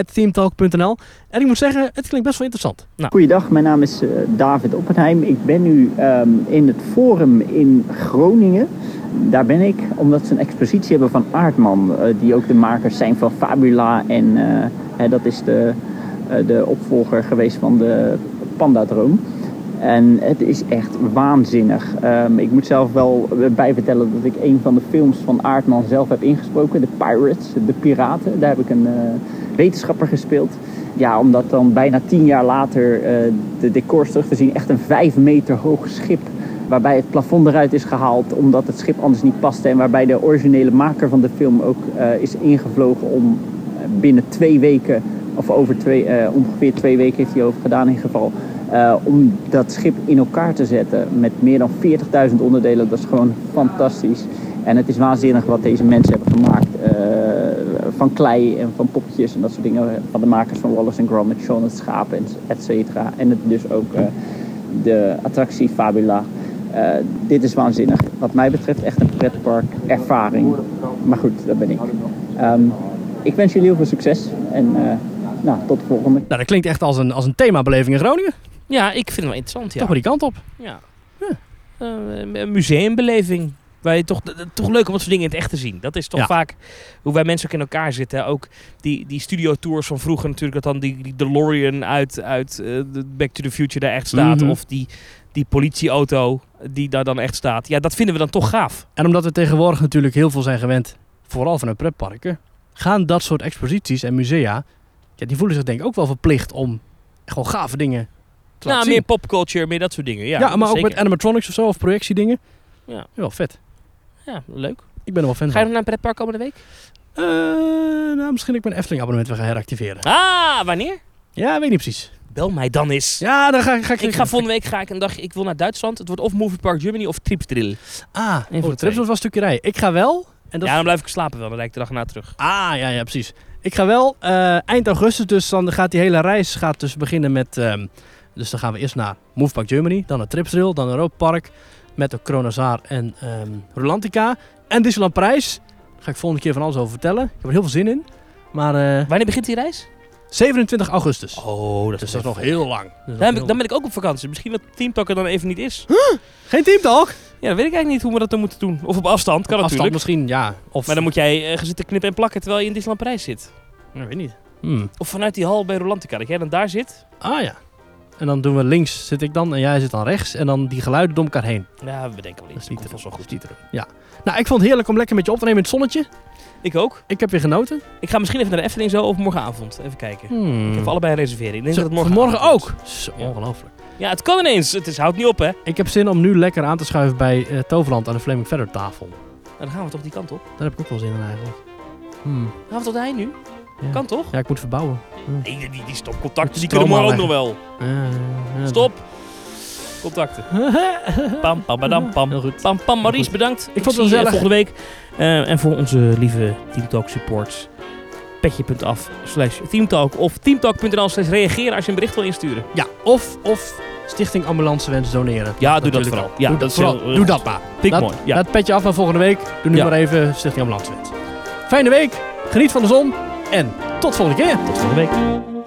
B: audio.teamtalk.nl. En ik moet zeggen, het klinkt best wel interessant.
C: Nou.
E: Goeiedag, mijn naam is eh, David Oppenheim. Ik ben nu ehm, in het Forum in Groningen. Daar ben ik omdat ze een expositie hebben van Aardman, eh, die ook de makers zijn van Fabula. En eh, hè, dat is de, eh, de opvolger geweest van de Pandadroom. En het is echt waanzinnig. Ehm, ik moet zelf wel bij vertellen dat ik een van de films van Aardman zelf heb ingesproken. De Pirates, de Piraten. Daar heb ik een eh, wetenschapper gespeeld. Ja, om dat dan bijna tien jaar later eh, de decors terug te zien. Echt een vijf meter hoog schip. Waarbij het plafond eruit is gehaald omdat het schip anders niet paste. En waarbij de originele maker van de film ook eh, is ingevlogen om eh, binnen twee weken, of over twee, eh, ongeveer twee weken heeft hij over gedaan in ieder geval. eh, om dat schip in elkaar te zetten met meer dan 40.000 onderdelen. Dat is gewoon fantastisch. En het is waanzinnig wat deze mensen hebben gemaakt. eh, van klei en van poppetjes en dat soort dingen. Van de makers van Wallace and Gromit, Sean het Schaap, en et cetera. En het dus ook eh, de attractie Fabula. Eh, dit is waanzinnig. Wat mij betreft echt een pretpark ervaring. Maar goed, dat ben ik. Ehm, ik wens jullie heel veel succes. En eh, nou, tot de volgende.
B: Nou, dat klinkt echt als een, als een themabeleving in Groningen.
C: Ja, ik vind het wel interessant, ja.
B: Toch maar die kant op.
C: ja. Eh, een museumbeleving. Waar je toch, d- d- toch leuk om wat soort dingen in het echt te zien. Dat is toch
B: Ja.
C: vaak hoe wij mensen ook in elkaar zitten. hè. Ook die, die studiotours van vroeger natuurlijk. Dat dan die, die DeLorean uit, uit eh, de Back to the Future daar echt staat.
B: Mhm.
C: Of die, die politieauto die daar dan echt staat. Ja, dat vinden we dan toch gaaf.
B: En omdat we tegenwoordig natuurlijk heel veel zijn gewend, vooral vanuit pretparken, gaan dat soort exposities en musea, ja, die voelen zich denk ik ook wel verplicht om gewoon gave dingen te
C: nou,
B: laten
C: meer
B: zien.
C: popculture, meer dat soort dingen. Ja,
B: Ja, maar ook
C: zeker.
B: met animatronics of zo, of projectiedingen.
C: Ja.
B: Wel vet.
C: Ja, leuk.
B: Ik ben er wel fan
C: Ga je nog
B: van.
C: naar een pretpark komende week?
B: Eh, nou, misschien dat ik mijn Efteling abonnement weer ga heractiveren.
C: Ah, wanneer?
B: Ja, weet niet precies.
C: Bel mij dan eens.
B: Ja, dan ga, ik- ga ik...
C: Ik ga volgende week ga ik een dagje, ik wil naar Duitsland. Het wordt of Movie Park Germany of Tripsdrill.
B: Ah,
C: van de
B: oh, de
C: twee.
B: Tripsdorp was een stukje rijden. Ik ga wel... En dat
C: Ja, dan blijf ik slapen wel. Dan rijd ik de dag na terug.
B: Ah, ja, ja, precies. Ik ga wel eh, eind augustus, dus dan gaat die hele reis gaat dus beginnen met... ehm, dus dan gaan we eerst naar Movepark Germany, dan naar Tripsrail, dan naar Europa Park met de Kronozaar en ehm Rolantica. En Disneyland Parijs, daar ga ik volgende keer van alles over vertellen. Ik heb er heel veel zin in. Maar eh,
C: Wanneer begint die reis?
B: 27 augustus,
C: Oh, dat
B: dus dat is nog heel lang. Dat is nog
C: Dan, heb
B: heel
C: ik, dan ben ik ook op vakantie. Misschien dat Teamtalk er dan even niet is.
B: lang. Geen teamtalk?
C: Ja, dan weet ik eigenlijk niet hoe we dat dan moeten doen. Of op afstand,
B: Afstand
C: kan natuurlijk.
B: misschien, ja. Of,
C: Maar dan moet jij eh, gaan zitten knippen en plakken terwijl je in Disneyland Parijs zit.
B: ik weet niet. Hmm.
C: Of vanuit die hal bij Rolantica, dat jij dan daar zit.
B: Ah ja. En dan doen we links zit ik dan en jij zit dan rechts. En dan die geluiden door elkaar heen.
C: Ja, we denken wel
B: Dat
C: iets.
B: is niet eh,
C: Dat komt wel zo goed.
B: Ja. Nou, ik vond het heerlijk om lekker met je op te nemen in het zonnetje.
C: Ik ook.
B: Ik heb weer genoten.
C: Ik ga misschien even naar de Efteling zo of morgenavond. Even kijken.
B: Hmm.
C: Ik heb allebei een reservering. Ik denk dat het
B: morgen,
C: morgen
B: ook. Zo,
C: Ja.
B: Ongelooflijk.
C: Ja, het kan ineens. Het is, houdt niet op, hè.
B: Ik heb zin om nu lekker aan te schuiven bij eh, Toverland aan de Flaming Feather tafel.
C: Nou, dan gaan we toch die kant op.
B: Daar heb ik ook wel zin in eigenlijk. Hmm,
C: Dan gaan we tot de hei nu.
B: ja.
C: Kan toch?
B: Ja, ik moet verbouwen.
C: Nee, die, die, die stopcontacten die
B: Stroom
C: kunnen morgen ook nog
B: aanleggen.
C: wel.
B: Ja, ja, ja.
C: Stop. Contacten. Pam, pam, badam, pam.
B: Heel goed.
C: Pam, pam, Maries, bedankt. Ik,
B: vond het
C: zie je
B: gezellig.
C: volgende week. Eh, en voor onze lieve Teamtalk supports. Petje.af slash Teamtalk of teamtalk.nl slash reageren als je een bericht wil insturen.
B: Ja, of, of Stichting Ambulancewens doneren.
C: Ja, doe dat
B: Natuurlijk
C: vooral.
B: wel.
C: Ja,
B: doe dat,
C: is
B: vooral.
C: heel- eh,
B: doe dat maar.
C: Vind
B: Laat-
C: ik mooi. Ja.
B: Laat het petje af naar volgende week. Doe nu
C: Ja.
B: maar even Stichting Ambulancewens. Fijne week. Geniet van de zon. En tot volgende keer.
C: Tot volgende week.